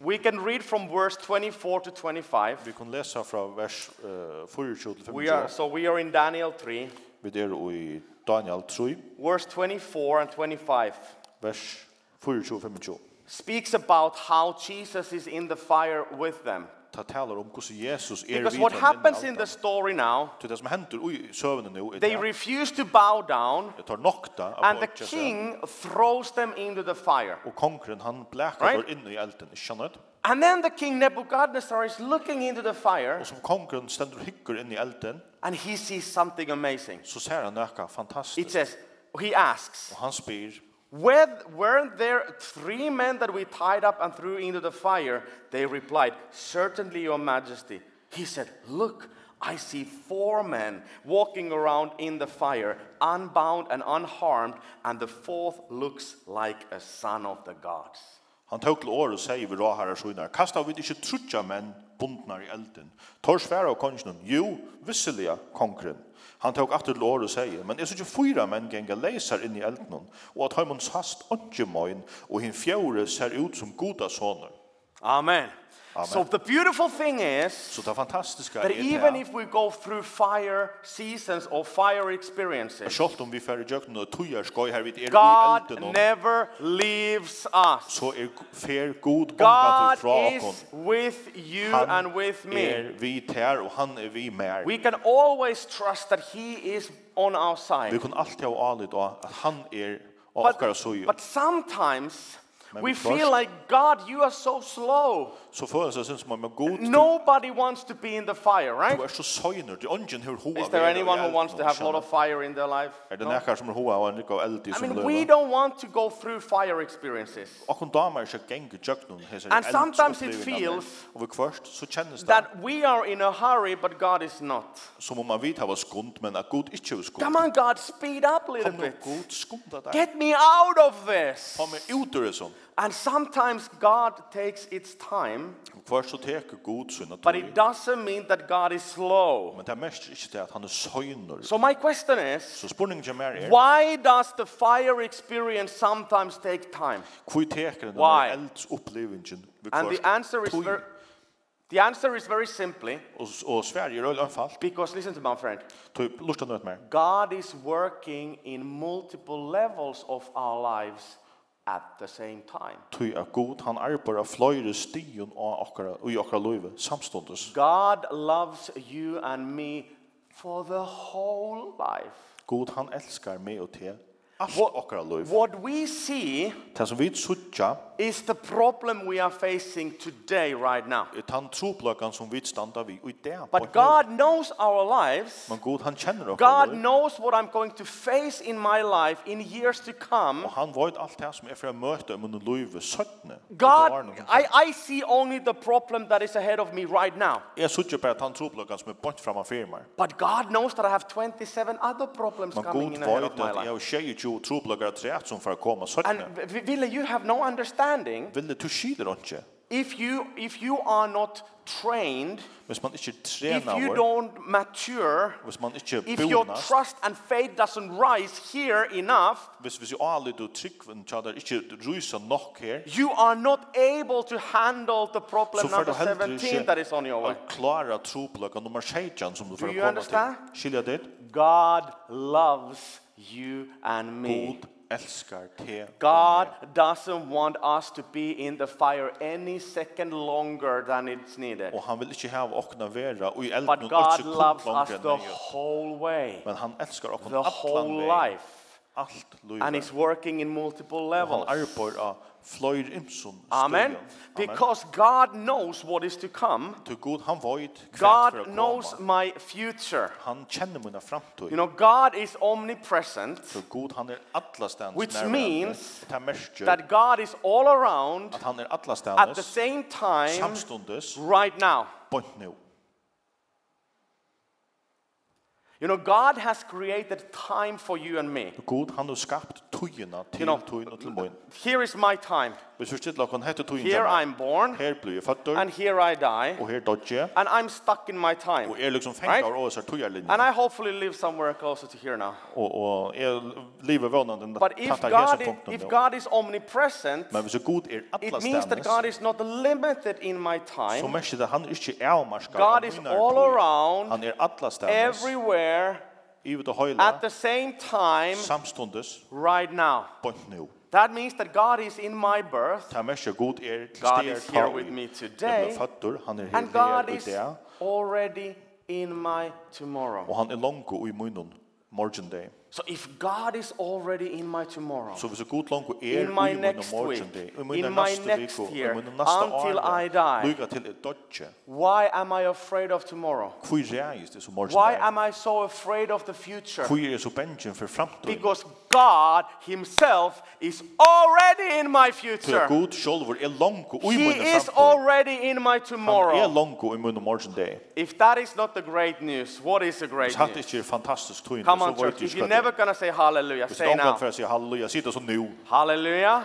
Speaker 2: We can read from verse 24 to 25.
Speaker 3: Vi kan lese fra vers uh, 24 til
Speaker 2: We are
Speaker 3: 25.
Speaker 2: so we are in Daniel 3,
Speaker 3: Vi der i Daniel 3,
Speaker 2: verse 24 and 25
Speaker 3: vers 24-25.
Speaker 2: speaks about how Jesus is in the fire with them.
Speaker 3: Ta talar om hvordan Jesus er
Speaker 2: Because what happens in the story now,
Speaker 3: To det som hender i søvnen nu, er
Speaker 2: they
Speaker 3: det
Speaker 2: refuse to bow down
Speaker 3: det tar nokta av
Speaker 2: and the
Speaker 3: folket seg,
Speaker 2: king throws them into the fire.
Speaker 3: og kongren han blækar
Speaker 2: Right?
Speaker 3: right? inn i elden, ikke sant?
Speaker 2: And then the king Nebuchadnezzar is looking into the fire
Speaker 3: Og som kongren stender og hyggur inn i elden,
Speaker 2: and he sees something amazing.
Speaker 3: så ser han noe
Speaker 2: It
Speaker 3: fantastisk.
Speaker 2: says, he asks,
Speaker 3: Og han spyr,
Speaker 2: Were, weren't there three men that we tied up and threw into the fire? They replied, Certainly, Your Majesty. He said, Look, I see four men walking around in the fire, unbound and unharmed, and the fourth looks like a son of the gods.
Speaker 3: han tåg til året og sier vi rå herre søgnar, kasta vi ikke trutja menn bundnar i elden. Tar sværa av kongen, jo, visseliga kongren. Han tåg atter til året og sier, men jeg synes ikke fyra menn genga leisar inn i elden, og at heimons hast ondje moin, og hin fjore ser ut som goda soner.
Speaker 2: Amen.
Speaker 3: Amen.
Speaker 2: So the beautiful thing is
Speaker 3: Så det fantastiska
Speaker 2: that
Speaker 3: er det
Speaker 2: even if we go through fire seasons or fire
Speaker 3: at
Speaker 2: experiences,
Speaker 3: sjålt om vi færre jøkken og tujar skoj her vid er i
Speaker 2: God
Speaker 3: elden,
Speaker 2: never leaves us.
Speaker 3: så er fer god gonga
Speaker 2: God
Speaker 3: til fra
Speaker 2: is
Speaker 3: okkon.
Speaker 2: with you and with
Speaker 3: Han
Speaker 2: me.
Speaker 3: er vi ter, og han er vi mer.
Speaker 2: We can always trust that he is on our
Speaker 3: Vi
Speaker 2: side.
Speaker 3: kan alltid ha alit av at han er av okkara
Speaker 2: But,
Speaker 3: suju.
Speaker 2: but sometimes
Speaker 3: Men
Speaker 2: we
Speaker 3: först-
Speaker 2: feel like God, you are so slow.
Speaker 3: Så føles det som om er god du
Speaker 2: Nobody wants to be in the fire, right?
Speaker 3: du er så søgner. Det er ungen hur hoa
Speaker 2: Is there
Speaker 3: vera i
Speaker 2: anyone who
Speaker 3: elden
Speaker 2: wants to
Speaker 3: og
Speaker 2: have a lot
Speaker 3: skjønner.
Speaker 2: of fire in their life?
Speaker 3: Er det
Speaker 2: No?
Speaker 3: nekkar som er hoa og en rikka av eld i
Speaker 2: I
Speaker 3: som
Speaker 2: mean, we
Speaker 3: løyva?
Speaker 2: don't want to go through fire experiences.
Speaker 3: Okkon damer ikke gengur jøknum hese
Speaker 2: And sometimes it
Speaker 3: eldsopplevingarna.
Speaker 2: feels
Speaker 3: Og vi kvørst, så kjennes det
Speaker 2: That we are in a hurry, but God is not.
Speaker 3: som om man vit hava skund, men at god ikkje hava skund.
Speaker 2: Come on, God, speed up a little
Speaker 3: Kom nu,
Speaker 2: bit.
Speaker 3: god skunda deg.
Speaker 2: Get me out of this.
Speaker 3: Ta meg ut ur det sånn.
Speaker 2: And sometimes God takes its time,
Speaker 3: Først så teker god synd
Speaker 2: but it doesn't mean that God is slow.
Speaker 3: Men det mest ikke det at han er søgner.
Speaker 2: So my question is,
Speaker 3: Så spurningen kommer her er,
Speaker 2: why does the fire experience sometimes take time?
Speaker 3: hvor teker den
Speaker 2: Why?
Speaker 3: her eldsopplevingen? vi
Speaker 2: And the
Speaker 3: først
Speaker 2: answer is
Speaker 3: tog?
Speaker 2: very The answer is very simply
Speaker 3: Og, og Sverige er øyne anfallt.
Speaker 2: because listen to my friend.
Speaker 3: Tog lort han mer.
Speaker 2: God is working in multiple levels of our lives at the same time.
Speaker 3: Tog er god, han er bare fløyre stigen og akkara, og i akkara løyve, samståndes.
Speaker 2: God loves you and me for the whole life.
Speaker 3: God, han elskar meg og te. Alt
Speaker 2: What-
Speaker 3: akkara løyve.
Speaker 2: What we see
Speaker 3: Det som vi suttja,
Speaker 2: is the problem we are facing today, right now.
Speaker 3: er den troplagan som vi standa vi, og i det. på en
Speaker 2: But God knows our lives.
Speaker 3: Men god han kjenner okkara
Speaker 2: God
Speaker 3: løyve.
Speaker 2: knows what I'm going to face in my life in years to come.
Speaker 3: Og han vet alt det som er fra møte om en løyve søttene.
Speaker 2: God, I, I see only the problem that is ahead of me right now.
Speaker 3: Jeg suttja bare at han troplagan som er bort fram av firmaer.
Speaker 2: But God knows that I have 27 other problems
Speaker 3: Men
Speaker 2: coming
Speaker 3: god
Speaker 2: in ahead
Speaker 3: vet
Speaker 2: of my
Speaker 3: at jeg
Speaker 2: life.
Speaker 3: og tjejer jo troplagar træt som for å komme
Speaker 2: And
Speaker 3: søttene.
Speaker 2: v- Ville, you have no understanding
Speaker 3: Ville du skyder ikke?
Speaker 2: if you, if you are not trained,
Speaker 3: Hvis man ikke
Speaker 2: if
Speaker 3: trener
Speaker 2: you
Speaker 3: vår,
Speaker 2: don't mature,
Speaker 3: hvis man ikke
Speaker 2: if your
Speaker 3: bonast,
Speaker 2: trust and faith doesn't rise here enough,
Speaker 3: hvis vi alle du tryggven tjadar ikke rysa nok her,
Speaker 2: you are not able to handle the
Speaker 3: så
Speaker 2: problem
Speaker 3: får du
Speaker 2: number
Speaker 3: heller
Speaker 2: 17 that is on your
Speaker 3: ikke
Speaker 2: way.
Speaker 3: klara troplagar nummer 16 som du får
Speaker 2: you
Speaker 3: komme
Speaker 2: understand?
Speaker 3: til. Skilja det?
Speaker 2: God loves you and me.
Speaker 3: God elskar te.
Speaker 2: God doesn't want us to be in the fire any second longer than it's needed.
Speaker 3: Og han vil ikke hava okna vera og i elden
Speaker 2: But
Speaker 3: og
Speaker 2: God
Speaker 3: ikke
Speaker 2: loves us
Speaker 3: kumplanker
Speaker 2: the
Speaker 3: enn jeg.
Speaker 2: whole way,
Speaker 3: Men han elskar okon
Speaker 2: the
Speaker 3: allan
Speaker 2: whole
Speaker 3: vei,
Speaker 2: life.
Speaker 3: allt
Speaker 2: And
Speaker 3: løyver.
Speaker 2: it's working in multiple
Speaker 3: Og han
Speaker 2: levels.
Speaker 3: arbeid av fløyr imsum.
Speaker 2: Amen. Because God knows what is to come.
Speaker 3: Du god, han void kvart for
Speaker 2: God
Speaker 3: å
Speaker 2: knows
Speaker 3: komme.
Speaker 2: my future.
Speaker 3: Han kjenner mina framtid.
Speaker 2: You know, God is omnipresent,
Speaker 3: Så god, han er allastans
Speaker 2: Which means
Speaker 3: Det merker
Speaker 2: that God is all around
Speaker 3: at han er
Speaker 2: at the
Speaker 3: allastans
Speaker 2: same time
Speaker 3: samstundes
Speaker 2: right now.
Speaker 3: bort nu.
Speaker 2: You know, God has created time for you and me.
Speaker 3: God, han har skapt tøyina
Speaker 2: You
Speaker 3: til
Speaker 2: know,
Speaker 3: tøyina til møyn.
Speaker 2: Here is my time.
Speaker 3: Hvis vi stiller okon hette tøyina
Speaker 2: Here I'm born,
Speaker 3: Her blir jeg føtter,
Speaker 2: and here I die,
Speaker 3: og her dodger jeg.
Speaker 2: and I'm stuck in my time.
Speaker 3: Og er liksom
Speaker 2: Right?
Speaker 3: fengt av oss her
Speaker 2: And
Speaker 3: tøyarlinjen.
Speaker 2: I hopefully live somewhere closer to here now.
Speaker 3: Og, og er livet vånande
Speaker 2: But if
Speaker 3: tattar
Speaker 2: God,
Speaker 3: hese punkten
Speaker 2: if
Speaker 3: nu.
Speaker 2: God is omnipresent,
Speaker 3: Men hvis god er
Speaker 2: it means that God
Speaker 3: allastans,
Speaker 2: is not limited in my
Speaker 3: så
Speaker 2: time.
Speaker 3: merker det han er ikke avmarskar.
Speaker 2: God is all around,
Speaker 3: Han er allastans.
Speaker 2: everywhere,
Speaker 3: Ivet og høyla,
Speaker 2: at the same time,
Speaker 3: samstundes,
Speaker 2: right now.
Speaker 3: bort nu.
Speaker 2: That means that God is in my birth,
Speaker 3: Ta merker god er til
Speaker 2: God
Speaker 3: steder
Speaker 2: is here
Speaker 3: i.
Speaker 2: with me
Speaker 3: Jeg
Speaker 2: today,
Speaker 3: ble fattur, han er
Speaker 2: and
Speaker 3: helt
Speaker 2: God
Speaker 3: her i
Speaker 2: is
Speaker 3: det,
Speaker 2: already in my tomorrow.
Speaker 3: og han er langko i munnen, morgen day.
Speaker 2: So if God is already in my tomorrow,
Speaker 3: Så hvis god langko er i
Speaker 2: in my
Speaker 3: munnen,
Speaker 2: next week,
Speaker 3: morgen day, i
Speaker 2: in
Speaker 3: munnen
Speaker 2: my
Speaker 3: neste
Speaker 2: next
Speaker 3: viko, i
Speaker 2: year,
Speaker 3: munnen neste
Speaker 2: until I
Speaker 3: år,
Speaker 2: die,
Speaker 3: lykka til et dodge.
Speaker 2: why am I afraid of tomorrow?
Speaker 3: Hvor reist det som morgen
Speaker 2: Why
Speaker 3: day?
Speaker 2: am I so afraid of the future?
Speaker 3: Hvor er så benjen for framtiden?
Speaker 2: Because God himself is already in my
Speaker 3: For
Speaker 2: future.
Speaker 3: god sjolvor er langko i
Speaker 2: He
Speaker 3: munnen
Speaker 2: is
Speaker 3: framtiden.
Speaker 2: already in my
Speaker 3: Han er
Speaker 2: tomorrow.
Speaker 3: langko i munnen morgen day.
Speaker 2: If that is not the great news, what is the great
Speaker 3: Hvis hatt
Speaker 2: news?
Speaker 3: ikke er fantastisk tøyne,
Speaker 2: Come
Speaker 3: så
Speaker 2: on,
Speaker 3: vart
Speaker 2: church.
Speaker 3: det
Speaker 2: If you're never going to say hallelujah,
Speaker 3: Hvis
Speaker 2: say
Speaker 3: det omgang for
Speaker 2: now.
Speaker 3: å si halleluja, si det så nu.
Speaker 2: Hallelujah.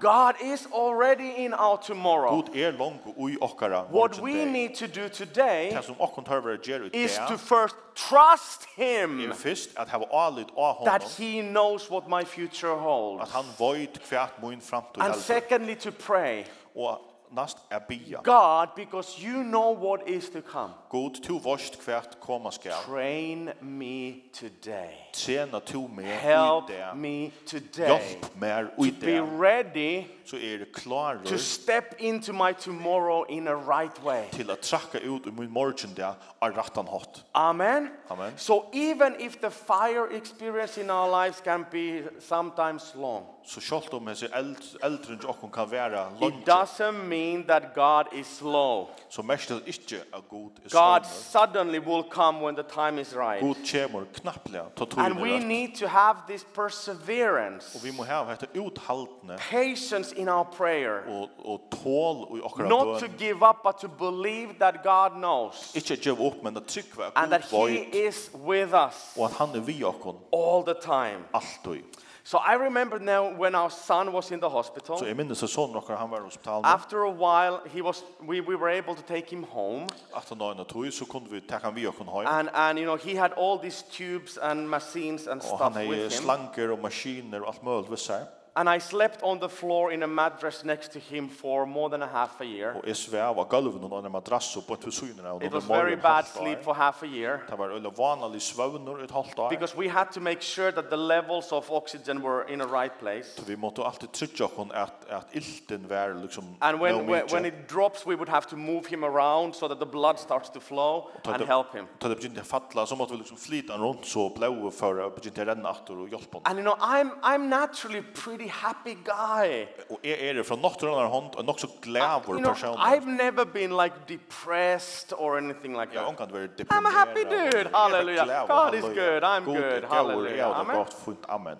Speaker 2: God is already in our tomorrow.
Speaker 3: God er langt og i okkara
Speaker 2: What
Speaker 3: morgen
Speaker 2: we
Speaker 3: dag.
Speaker 2: need to do today
Speaker 3: Det som okkon tar vera gjer ut det
Speaker 2: is to first trust
Speaker 3: er
Speaker 2: Him
Speaker 3: fyrst at hava alit av
Speaker 2: that
Speaker 3: honom
Speaker 2: He knows what my future holds.
Speaker 3: at han void kvært mun framtid
Speaker 2: And
Speaker 3: heldur
Speaker 2: secondly, to pray.
Speaker 3: og nast er bia.
Speaker 2: God, because you know what is to come,
Speaker 3: God to voist kvært koma skal.
Speaker 2: train me today.
Speaker 3: Tjena to mer i
Speaker 2: Help
Speaker 3: det.
Speaker 2: me today
Speaker 3: Hjálp mer
Speaker 2: to
Speaker 3: i
Speaker 2: be
Speaker 3: det.
Speaker 2: ready
Speaker 3: Så er det klarur
Speaker 2: to step into my tomorrow in a right way.
Speaker 3: til at trakka ut i mun morgen dag av rattan hot.
Speaker 2: Amen.
Speaker 3: Amen.
Speaker 2: So even if the fire experience in our lives can be sometimes long,
Speaker 3: Så sjálvt om hese eld, eldrun til okkon kan vera
Speaker 2: it
Speaker 3: lunge,
Speaker 2: doesn't mean that God is slow.
Speaker 3: så mest det ikkje at god er
Speaker 2: God
Speaker 3: sannur.
Speaker 2: suddenly will come when the time is right.
Speaker 3: God kjemur knappliga ta
Speaker 2: And we
Speaker 3: tøyna
Speaker 2: need to have this perseverance,
Speaker 3: og vi må hava hetta uthaldne
Speaker 2: patience in our prayer,
Speaker 3: og og tål i okkara
Speaker 2: not to
Speaker 3: bøn.
Speaker 2: give up, but to believe that God knows
Speaker 3: Ikkje geva upp men at tryggva
Speaker 2: and that
Speaker 3: at
Speaker 2: He
Speaker 3: Gud veit
Speaker 2: is with us
Speaker 3: og at han er vi okkon
Speaker 2: all the time.
Speaker 3: alltid.
Speaker 2: So I remember now when our son was in the hospital.
Speaker 3: Så jeg minnes at sånn nokker han var i hospitalen.
Speaker 2: After a while, he was, we, we were able to take him home.
Speaker 3: Efter nøyne tog, så kunne vi takke han vi og kunne hjem.
Speaker 2: And, and, you know, he had all these tubes and machines and
Speaker 3: Og
Speaker 2: stuff
Speaker 3: han hei
Speaker 2: with him.
Speaker 3: slanker og maskiner og alt mulig ved seg.
Speaker 2: And I slept on the floor in a mattress next to him for more than a half a year.
Speaker 3: Og jeg svev av gulven og en madrass og på et visynere.
Speaker 2: It was very bad sleep for half a year
Speaker 3: Det var øyne vanlig svøvner et halvt år.
Speaker 2: because we had to make sure that the levels of oxygen were in the right place.
Speaker 3: Så vi måtte alltid trycka hon att att ilten var liksom
Speaker 2: And when,
Speaker 3: no
Speaker 2: when,
Speaker 3: meat.
Speaker 2: when it drops, we would have to move him around so that the blood starts to flow
Speaker 3: Ta
Speaker 2: and
Speaker 3: det-
Speaker 2: help him.
Speaker 3: ta det begynte er falla så måtte vi liksom flyta runt så blåa för att begynte renna åter och hjälpa hon.
Speaker 2: And you know, I'm, I'm naturally a pretty happy guy.
Speaker 3: Och är är det från något annan hand och också
Speaker 2: you
Speaker 3: glädje
Speaker 2: know,
Speaker 3: person.
Speaker 2: I've never been like depressed or anything like
Speaker 3: Jag
Speaker 2: that.
Speaker 3: hon kan vara deprimerad.
Speaker 2: I'm a happy
Speaker 3: och-
Speaker 2: dude.
Speaker 3: Jag är
Speaker 2: Hallelujah.
Speaker 3: glad och
Speaker 2: God is
Speaker 3: halleluja.
Speaker 2: good. I'm
Speaker 3: Gud er är
Speaker 2: good.
Speaker 3: god och
Speaker 2: Hallelujah.
Speaker 3: jag har det
Speaker 2: Amen.
Speaker 3: gott fint. Amen.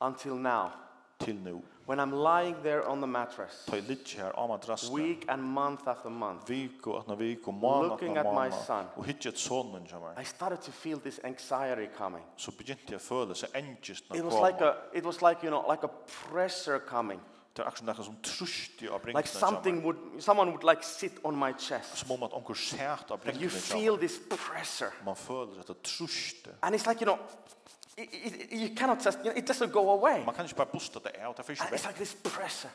Speaker 2: Until now,
Speaker 3: Till nu.
Speaker 2: when I'm lying there on the mattress,
Speaker 3: Ta lite här av madrassen.
Speaker 2: week and month after month,
Speaker 3: Vik och att när vik och månad och
Speaker 2: Looking at my
Speaker 3: månad.
Speaker 2: son.
Speaker 3: Och hittar ett sonen som
Speaker 2: I
Speaker 3: är.
Speaker 2: started to feel this anxiety coming.
Speaker 3: Så begynte jag föla sig ängest när
Speaker 2: It
Speaker 3: jag
Speaker 2: was like
Speaker 3: kom.
Speaker 2: a, it was like you know, like a pressure coming.
Speaker 3: Det är också något som trösti av brinkna.
Speaker 2: Like something would, someone would like sit on my chest.
Speaker 3: som om um at onkur sært av
Speaker 2: Like you
Speaker 3: blinkene
Speaker 2: feel this pressure,
Speaker 3: Man føler at det truste.
Speaker 2: and it's like you know, it, it, you cannot just, you know, it doesn't go away.
Speaker 3: Man kan ikke bare busta det av, det er
Speaker 2: And
Speaker 3: ikke
Speaker 2: it's
Speaker 3: vekk
Speaker 2: like this pressure.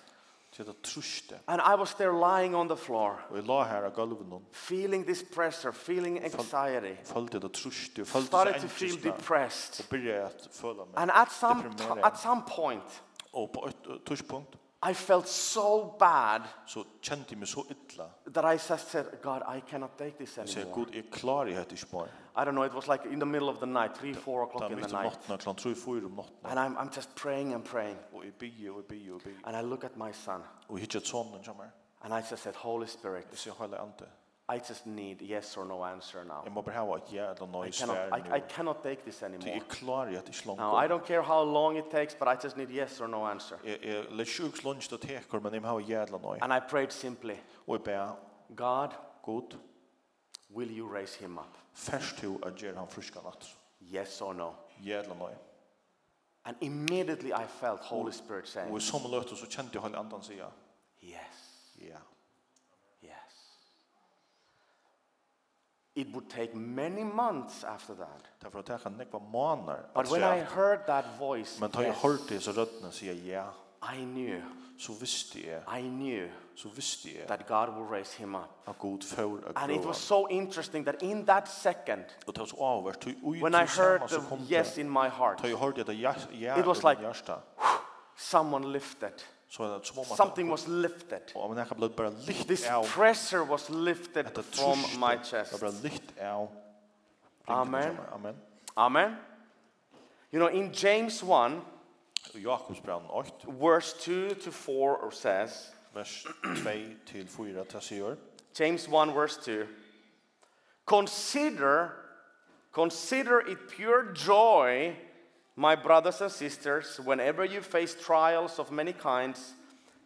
Speaker 3: til det truste.
Speaker 2: And I was there lying on the floor,
Speaker 3: Og jeg la her av gulven noen,
Speaker 2: feeling this pressure, feeling anxiety.
Speaker 3: følte det truste, og følte det
Speaker 2: Started to feel
Speaker 3: engelsene.
Speaker 2: depressed.
Speaker 3: Og byrja jeg at føle
Speaker 2: And
Speaker 3: meg
Speaker 2: at some, t-
Speaker 3: deprimerad.
Speaker 2: at some point,
Speaker 3: Og på uh, et et tidspunkt
Speaker 2: I felt so bad
Speaker 3: så kjente jeg meg så illa.
Speaker 2: that I just said, God, I cannot take this
Speaker 3: Jeg sier,
Speaker 2: anymore.
Speaker 3: god, jeg klarer jeg hette ikke bare.
Speaker 2: I don't know, it was like in the middle of the night, 3, 4
Speaker 3: Da
Speaker 2: o'clock in
Speaker 3: er mitt um
Speaker 2: the
Speaker 3: om
Speaker 2: night.
Speaker 3: natten, klant tro i fyr om natten.
Speaker 2: And I'm, I'm just praying and praying.
Speaker 3: Og jeg bygger, og jeg bygger, og jeg bygger.
Speaker 2: And I look at my son,
Speaker 3: Og jeg hittet sånn, som er.
Speaker 2: and I just said, Holy Spirit,
Speaker 3: Jeg sier, heile ante.
Speaker 2: I just need yes or no answer now.
Speaker 3: Jeg må bare hava et ja eller noe
Speaker 2: I
Speaker 3: i
Speaker 2: cannot,
Speaker 3: sværen.
Speaker 2: I, I cannot take this anymore.
Speaker 3: Jeg klarer jeg hette ikke langt.
Speaker 2: Now, I don't care how long it takes, but I just need yes or no answer.
Speaker 3: Jeg er litt sjukt lunch til teker, men jeg har jævla nøy.
Speaker 2: And I prayed simply,
Speaker 3: Og jeg ber,
Speaker 2: God,
Speaker 3: god,
Speaker 2: will you raise him up?
Speaker 3: først til å gjøre han friska natt.
Speaker 2: Yes or no?
Speaker 3: Jævla nøy.
Speaker 2: And immediately I felt Holy Spirit saying,
Speaker 3: Og i samme løte så kjente jeg hele andan sida.
Speaker 2: Yes,
Speaker 3: Ja.
Speaker 2: yes. It would take many months after that.
Speaker 3: Det er for å teka nekva måneder.
Speaker 2: But when I heard that voice,
Speaker 3: Men da jeg
Speaker 2: yes,
Speaker 3: hørte disse røddene sier ja,
Speaker 2: I knew,
Speaker 3: så visste jeg,
Speaker 2: I knew
Speaker 3: så visste jeg
Speaker 2: that God will raise him up.
Speaker 3: at god får av
Speaker 2: And it
Speaker 3: grøven.
Speaker 2: was so interesting that in that second,
Speaker 3: Og det var så avvært. Og
Speaker 2: when I heard the yes in my heart,
Speaker 3: Da jeg hørte det ja, ja,
Speaker 2: It was
Speaker 3: i min
Speaker 2: like-
Speaker 3: hjärsta,
Speaker 2: someone lifted.
Speaker 3: så er det som om at
Speaker 2: Something was lifted.
Speaker 3: Og men jeg kan bli bare litt
Speaker 2: This
Speaker 3: av.
Speaker 2: pressure was lifted
Speaker 3: At det
Speaker 2: from
Speaker 3: truste,
Speaker 2: my chest.
Speaker 3: Det var litt av.
Speaker 2: Amen.
Speaker 3: Amen.
Speaker 2: Amen. You know, in James 1,
Speaker 3: Og Jakobs brann 8,
Speaker 2: verse 2 to 4 says,
Speaker 3: vers 2 til 4 til sier.
Speaker 2: James 1, verse 2, consider, consider it pure joy, my brothers and sisters, whenever you face trials of many kinds,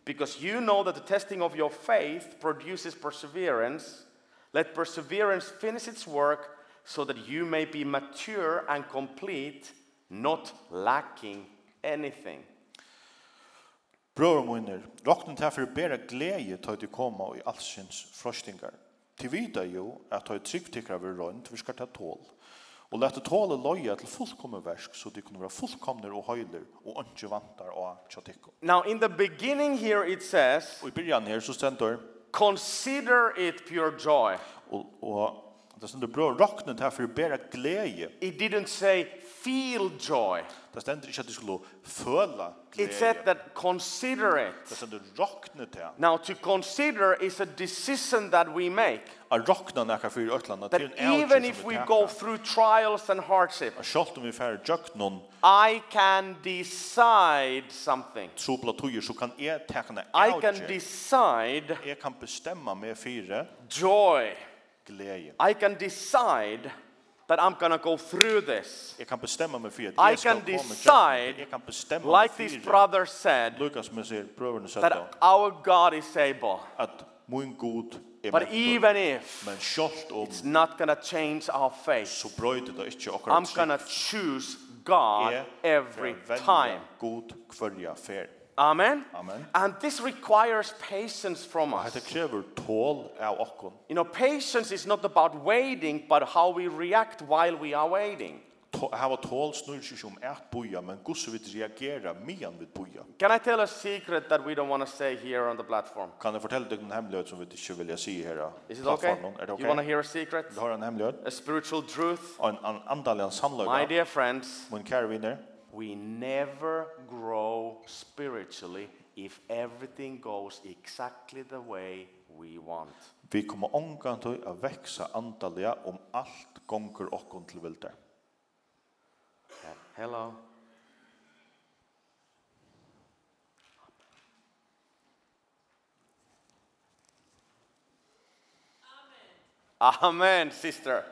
Speaker 2: because you know that the testing of your faith produces perseverance. Let perseverance finish its work so that you may be mature and complete, not lacking anything.
Speaker 3: Brøver munner, råknen til for bedre glede til at du kommer i allsins frøstingar. Til vida jo at du tryggtikker over rønt, vi skal ta tål. Og lette tåle løye til fullkomne versk, så de kunne være fullkomne og høyler, og ikke vantar av tjattikko.
Speaker 2: Now, in the beginning here, it says,
Speaker 3: Og i byrjan her så stendur,
Speaker 2: consider it pure joy.
Speaker 3: og, og det stendur brøver råknen til for bedre glede.
Speaker 2: It didn't say feel joy.
Speaker 3: Det stendur ikke at du skulle føle
Speaker 2: It said
Speaker 3: glede.
Speaker 2: that consider
Speaker 3: Det
Speaker 2: it.
Speaker 3: stendur råknen til
Speaker 2: Now, to consider is a decision that we make.
Speaker 3: att rockna näka för Ötlanda
Speaker 2: That
Speaker 3: till en
Speaker 2: even if we go through trials and hardship,
Speaker 3: Sjalt om vi fær jökt någon
Speaker 2: I can decide something.
Speaker 3: trubla tøyer så kan jeg tekna
Speaker 2: I can
Speaker 3: out.
Speaker 2: decide
Speaker 3: Jeg kan bestemma med fire
Speaker 2: joy.
Speaker 3: glädje.
Speaker 2: I can decide that I'm going to go through this.
Speaker 3: Jeg kan bestemma med fire.
Speaker 2: I can decide,
Speaker 3: Jeg kan bestemma
Speaker 2: Like this brother said,
Speaker 3: Lukas med sig bröderna sa då
Speaker 2: that our God is able.
Speaker 3: att min god är
Speaker 2: But even if
Speaker 3: men sjalt om
Speaker 2: it's not going to change our faith,
Speaker 3: så bröjde det inte och
Speaker 2: I'm going to choose God
Speaker 3: er
Speaker 2: every
Speaker 3: for å velja
Speaker 2: time.
Speaker 3: God kvølja fer.
Speaker 2: Amen?
Speaker 3: Amen.
Speaker 2: And this requires patience from
Speaker 3: Og Hetta
Speaker 2: us.
Speaker 3: krever tål av okkon.
Speaker 2: You know, patience is not about waiting, but how we react while we are waiting.
Speaker 3: Tå- Hava tål snur sig om ert boja, men gusse vi reagera mian vid boja.
Speaker 2: Can I tell a secret that we don't want to say here on the platform?
Speaker 3: Kan jeg fortelle deg en hemmelighet som vi ikke vilja si her? av
Speaker 2: Is it okay?
Speaker 3: plattformen? Er det
Speaker 2: You want to
Speaker 3: okay?
Speaker 2: hear a secret?
Speaker 3: Du har en hemmelighet?
Speaker 2: A spiritual truth?
Speaker 3: Og en, en andalian
Speaker 2: My
Speaker 3: samløyga.
Speaker 2: dear friends,
Speaker 3: Min kære vinner,
Speaker 2: we never grow spiritually if everything goes exactly the way we want.
Speaker 3: vi kommer omgang til å veksa andalia om alt gonger okkon til vilder.
Speaker 2: Yeah. Hello. Amen, sister.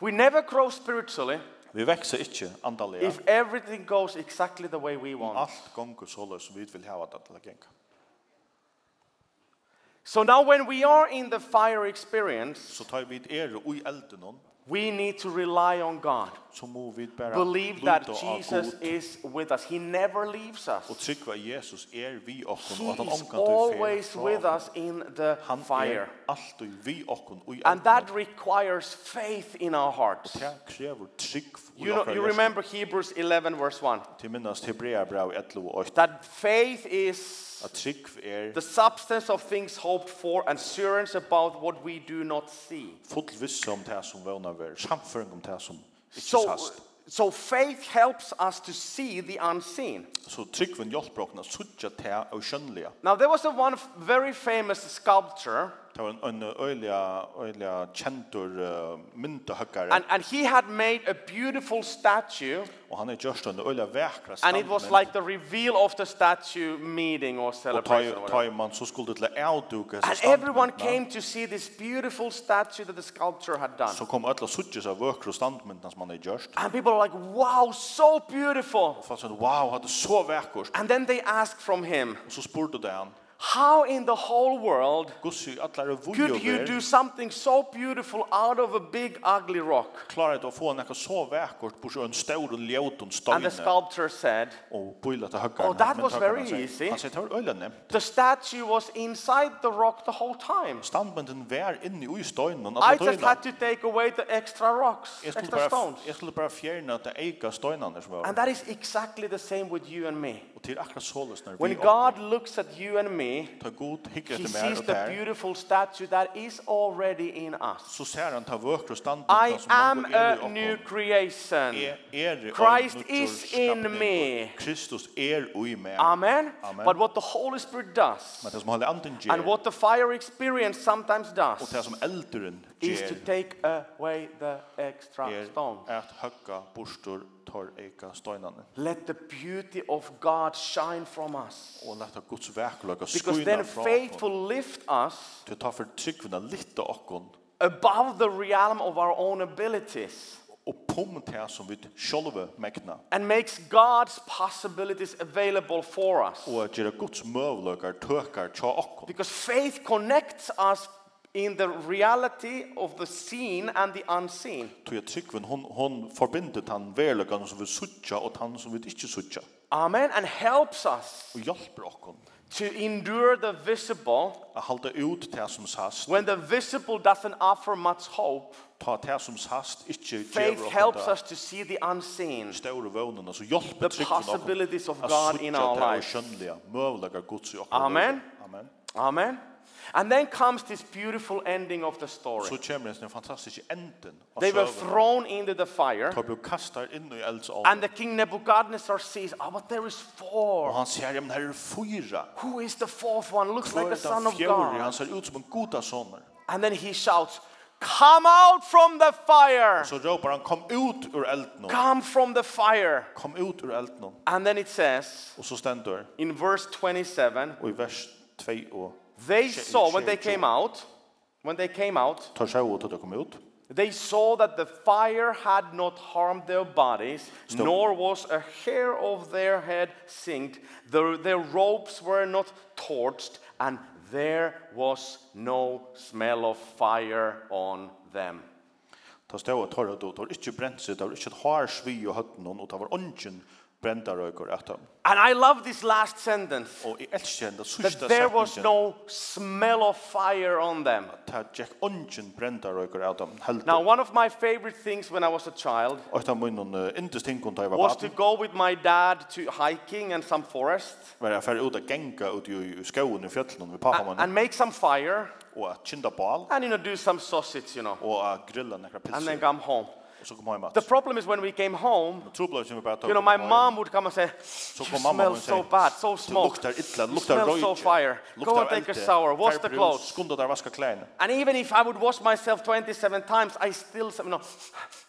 Speaker 2: We never grow spiritually
Speaker 3: Vi veksa ikkje andalia
Speaker 2: if everything goes exactly the way we
Speaker 3: om
Speaker 2: want.
Speaker 3: alt gonger såleis som vi vil hava det til å genga.
Speaker 2: So now, when we are in the fire experience,
Speaker 3: Så tar vi er ui elden hon,
Speaker 2: we need to rely on God.
Speaker 3: så må vi bara
Speaker 2: Believe
Speaker 3: luta
Speaker 2: that
Speaker 3: av
Speaker 2: Jesus
Speaker 3: Gud
Speaker 2: is with us, He never leaves us.
Speaker 3: og trykva Jesus er vi okkon
Speaker 2: He
Speaker 3: og at han
Speaker 2: is
Speaker 3: omgang til
Speaker 2: always with us in the
Speaker 3: Han
Speaker 2: fire.
Speaker 3: er alltid vi okkon ui
Speaker 2: And
Speaker 3: elden.
Speaker 2: that requires faith in our hearts.
Speaker 3: Det krever trygg
Speaker 2: You, know, you remember Hebrews 11, verse 1.
Speaker 3: til minnast Hebrea brev 11 og 8
Speaker 2: That faith is
Speaker 3: at trygg er
Speaker 2: the substance of things hoped for and assurance about what we do not see.
Speaker 3: full visse om det som vånar ver, samføring om det som ikke
Speaker 2: So,
Speaker 3: sast.
Speaker 2: so faith helps us to see the unseen.
Speaker 3: Så tryggven hjelper okkon at suttja det og skjønnelige.
Speaker 2: Now, there was a one f- very famous sculptor,
Speaker 3: Det var en, en øyliga, øyliga kjentur uh, myndehøkkare,
Speaker 2: and, and he had made a beautiful statue,
Speaker 3: og han er gjørst en øyliga vekra
Speaker 2: and it was like the reveal of the statue meeting or
Speaker 3: Og ta
Speaker 2: celebration. or whatever.
Speaker 3: ta man så skulle til å avduke
Speaker 2: And everyone came to see this beautiful statue that the sculptor had done.
Speaker 3: så kom alla suttjes av vökra standmyndna som han hade gjort.
Speaker 2: And people were like, wow, so beautiful.
Speaker 3: Og fast sånn, wow, hade så vekkert.
Speaker 2: And then they asked from him,
Speaker 3: Og så spurte det han,
Speaker 2: how in the whole world
Speaker 3: gussi, alla er vujo
Speaker 2: could you do
Speaker 3: ver,
Speaker 2: something so beautiful out of a big, ugly rock?
Speaker 3: klarar det å få nekka så vekkert på så en stor og ljøtun
Speaker 2: And the
Speaker 3: steine
Speaker 2: sculptor said,
Speaker 3: og bøyla til høkkaren.
Speaker 2: Oh, that
Speaker 3: Men
Speaker 2: was
Speaker 3: høkkaren
Speaker 2: very
Speaker 3: sier-
Speaker 2: easy.
Speaker 3: Han sier, det var øyla nevnt.
Speaker 2: the statue was inside the rock the whole time.
Speaker 3: Standmynden var inne i steinen, alla
Speaker 2: I just
Speaker 3: tøyla.
Speaker 2: had to take away the extra rocks,
Speaker 3: Jeg skulle,
Speaker 2: extra
Speaker 3: bara,
Speaker 2: stones.
Speaker 3: jeg skulle bara fjärna att eika steinarna som var.
Speaker 2: And that is exactly the same with you and me.
Speaker 3: Och till akkurat såles när vi
Speaker 2: When God looks at you and me,
Speaker 3: tar god hicka
Speaker 2: He
Speaker 3: till mer
Speaker 2: sees
Speaker 3: och
Speaker 2: the
Speaker 3: där.
Speaker 2: beautiful statue that is already in us.
Speaker 3: Så ser han ta vökra standmynden
Speaker 2: I
Speaker 3: som
Speaker 2: am
Speaker 3: han är i
Speaker 2: a
Speaker 3: oppån.
Speaker 2: new creation.
Speaker 3: er, er
Speaker 2: Christ
Speaker 3: ein
Speaker 2: is
Speaker 3: nýggjur
Speaker 2: in
Speaker 3: skapningur.
Speaker 2: me.
Speaker 3: Kristus er i meg.
Speaker 2: Amen?
Speaker 3: Amen.
Speaker 2: But what the Holy Spirit does,
Speaker 3: Men det som Heilige Anden ger,
Speaker 2: and what the fire experience sometimes
Speaker 3: og
Speaker 2: does,
Speaker 3: det som elderen
Speaker 2: is to
Speaker 3: ger,
Speaker 2: take away the extra
Speaker 3: er
Speaker 2: stone.
Speaker 3: at høkka bostur tar eika steinane.
Speaker 2: Let the beauty of God shine from us.
Speaker 3: Og leta Guds verkløk og
Speaker 2: Because
Speaker 3: skuina
Speaker 2: then
Speaker 3: fra
Speaker 2: faith
Speaker 3: okkon.
Speaker 2: will lift us
Speaker 3: Til ta for tryggvina litt av okkon,
Speaker 2: above the realm of our own abilities
Speaker 3: og pum til som vi sjolve megna.
Speaker 2: and makes God's possibilities available for us.
Speaker 3: Og at gjøre Guds møvløkar tøkar tja okkon.
Speaker 2: Because faith connects us in the reality of the seen and the unseen.
Speaker 3: Tog jeg tryggvin, hon, hon forbindet han verløkene som vi suttja og han som vi ikke suttja.
Speaker 2: Amen. And helps us
Speaker 3: Og hjelper okkon
Speaker 2: to endure the visible
Speaker 3: at halda ut det som sast
Speaker 2: when the visible doesn't offer much hope.
Speaker 3: ta det som sast ikke
Speaker 2: Faith helps us to see the unseen.
Speaker 3: store vånene, så
Speaker 2: The
Speaker 3: hjelper tryggen
Speaker 2: possibilities of God in our
Speaker 3: det og
Speaker 2: lives.
Speaker 3: skjønnelige, møvelige gods i okkar
Speaker 2: Amen.
Speaker 3: liv. Amen.
Speaker 2: Amen. And then comes this beautiful ending of the story.
Speaker 3: Så kommer den fantastiske enden av
Speaker 2: They were
Speaker 3: søvnen.
Speaker 2: thrown into the fire,
Speaker 3: Ta blir kastet inn i
Speaker 2: and the
Speaker 3: eldsånden.
Speaker 2: king Nebuchadnezzar sees, oh, but there is
Speaker 3: Og
Speaker 2: four.
Speaker 3: han ser, ja, men her er fyra.
Speaker 2: Who is the fourth one? Looks
Speaker 3: Hva
Speaker 2: like
Speaker 3: er
Speaker 2: the son
Speaker 3: den
Speaker 2: of
Speaker 3: fjore?
Speaker 2: God.
Speaker 3: Han ser ut som en goda soner.
Speaker 2: And then he shouts, Come out from the fire!
Speaker 3: Så råper han, kom ut ur elden.
Speaker 2: Come from the fire!
Speaker 3: Kom ut ur elden.
Speaker 2: And then it says
Speaker 3: Og så stender
Speaker 2: in verse 27
Speaker 3: og i vers 2 og
Speaker 2: they
Speaker 3: Sh-
Speaker 2: saw when they
Speaker 3: shame,
Speaker 2: came out, when they came out,
Speaker 3: tar seg ut til det kom ut.
Speaker 2: they saw that the fire had not harmed their bodies,
Speaker 3: Stop.
Speaker 2: nor was a hair of their head singed. Their, their robes were not torched, and there was no smell of fire on them.
Speaker 3: Ta stå og torra då, det var ikke brent seg, det var ikke et hår svi i høtten, og det var ånden brenta røyker etter.
Speaker 2: And I love this last sentence
Speaker 3: Og jeg elsker den
Speaker 2: that
Speaker 3: sørste
Speaker 2: there was
Speaker 3: setningen,
Speaker 2: no smell of fire on them.
Speaker 3: ta tjekk ånden brenta røyker etter, helt
Speaker 2: Now,
Speaker 3: opp.
Speaker 2: one of my favorite things when I was a child
Speaker 3: Og etter munnen, ikke stinken da jeg var
Speaker 2: was to
Speaker 3: baden,
Speaker 2: go with my dad to hiking and some forest
Speaker 3: var jeg ferdig ut og genga ut i i skoen i fjellene med
Speaker 2: a-
Speaker 3: pappamannen,
Speaker 2: and make some fire
Speaker 3: og at kinda bal,
Speaker 2: and, you know, do some sausage, you know,
Speaker 3: og at grilla nekra
Speaker 2: and then
Speaker 3: pilser,
Speaker 2: come home.
Speaker 3: og så kom jeg
Speaker 2: The
Speaker 3: mat.
Speaker 2: problem is when we came home,
Speaker 3: Trobla som vi bare tar
Speaker 2: you know, my mom would come and say,
Speaker 3: Så
Speaker 2: you
Speaker 3: kom mamma
Speaker 2: smell
Speaker 3: og
Speaker 2: so
Speaker 3: sier,
Speaker 2: bad, so
Speaker 3: "Du
Speaker 2: smoke,
Speaker 3: luktar illa,
Speaker 2: you
Speaker 3: luktar
Speaker 2: smell
Speaker 3: røyk,
Speaker 2: so fire, go and take a shower, wash the clothes.
Speaker 3: skunda der vaska klæna.
Speaker 2: And even if I would wash myself 27 times, I still, you know,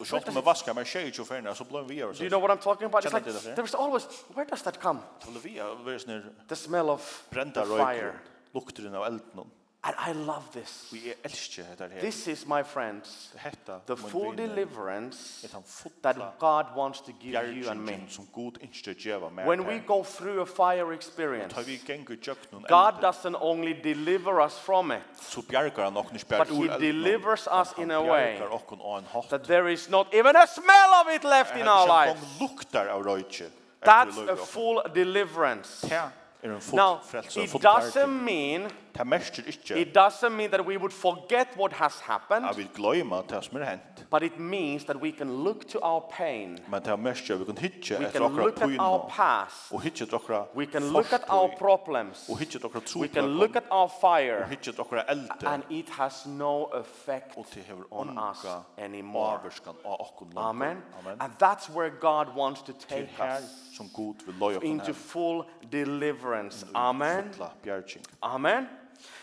Speaker 3: Og så ofta med vaska, men tjej tjo färna, så blöm vi över
Speaker 2: do
Speaker 3: så.
Speaker 2: you know what I'm talking about? It's
Speaker 3: Känner
Speaker 2: like,
Speaker 3: till det, ja.
Speaker 2: there's always, where does that come?
Speaker 3: Tala vi över sån här
Speaker 2: The smell of
Speaker 3: brända
Speaker 2: the fire.
Speaker 3: röjkron, lukteren av elden.
Speaker 2: And I love this.
Speaker 3: Vi är älskar det här.
Speaker 2: This is, my friends,
Speaker 3: Det hetta,
Speaker 2: the full
Speaker 3: deliverance
Speaker 2: deliverance
Speaker 3: är han fotla
Speaker 2: that God wants to give you and me.
Speaker 3: bjergjengjen som god ikke djeva mer.
Speaker 2: When we go through a fire experience,
Speaker 3: tar vi gengur tjöknun
Speaker 2: God doesn't only deliver us from it,
Speaker 3: så bjergar han okkur
Speaker 2: but
Speaker 3: spjær
Speaker 2: he
Speaker 3: ur elden.
Speaker 2: delivers us in a way
Speaker 3: Bjergar okkur á en hatt.
Speaker 2: that there is not even a smell of it left in our
Speaker 3: life.
Speaker 2: lives.
Speaker 3: luktar av røyke.
Speaker 2: That's a full deliverance.
Speaker 3: Ja, er en full
Speaker 2: Now,
Speaker 3: frelse.
Speaker 2: it doesn't mean
Speaker 3: Det mestjer ikke
Speaker 2: it doesn't mean that we would forget what has
Speaker 3: at
Speaker 2: happened,
Speaker 3: vi gløyma det som er hent.
Speaker 2: but it means that we can look to our pain.
Speaker 3: Men det mestjer vi kan hitje
Speaker 2: We
Speaker 3: etter
Speaker 2: can
Speaker 3: okra
Speaker 2: look at our
Speaker 3: pyna.
Speaker 2: past.
Speaker 3: Og hitje etter okra
Speaker 2: We can look at our problems.
Speaker 3: Og hitje etter okra
Speaker 2: We can look
Speaker 3: trupøkken.
Speaker 2: at our
Speaker 3: Og
Speaker 2: fire.
Speaker 3: hitje etter okra elde.
Speaker 2: And it has no effect
Speaker 3: Og til hever
Speaker 2: on us
Speaker 3: onka
Speaker 2: anymore.
Speaker 3: avverskan av okkur langt.
Speaker 2: Amen.
Speaker 3: Amen.
Speaker 2: And that's where God wants to
Speaker 3: Til
Speaker 2: take
Speaker 3: her
Speaker 2: us
Speaker 3: som god vil løy okkur
Speaker 2: into
Speaker 3: her.
Speaker 2: full deliverance. Amen.
Speaker 3: Fotla bjergjeng.
Speaker 2: Amen.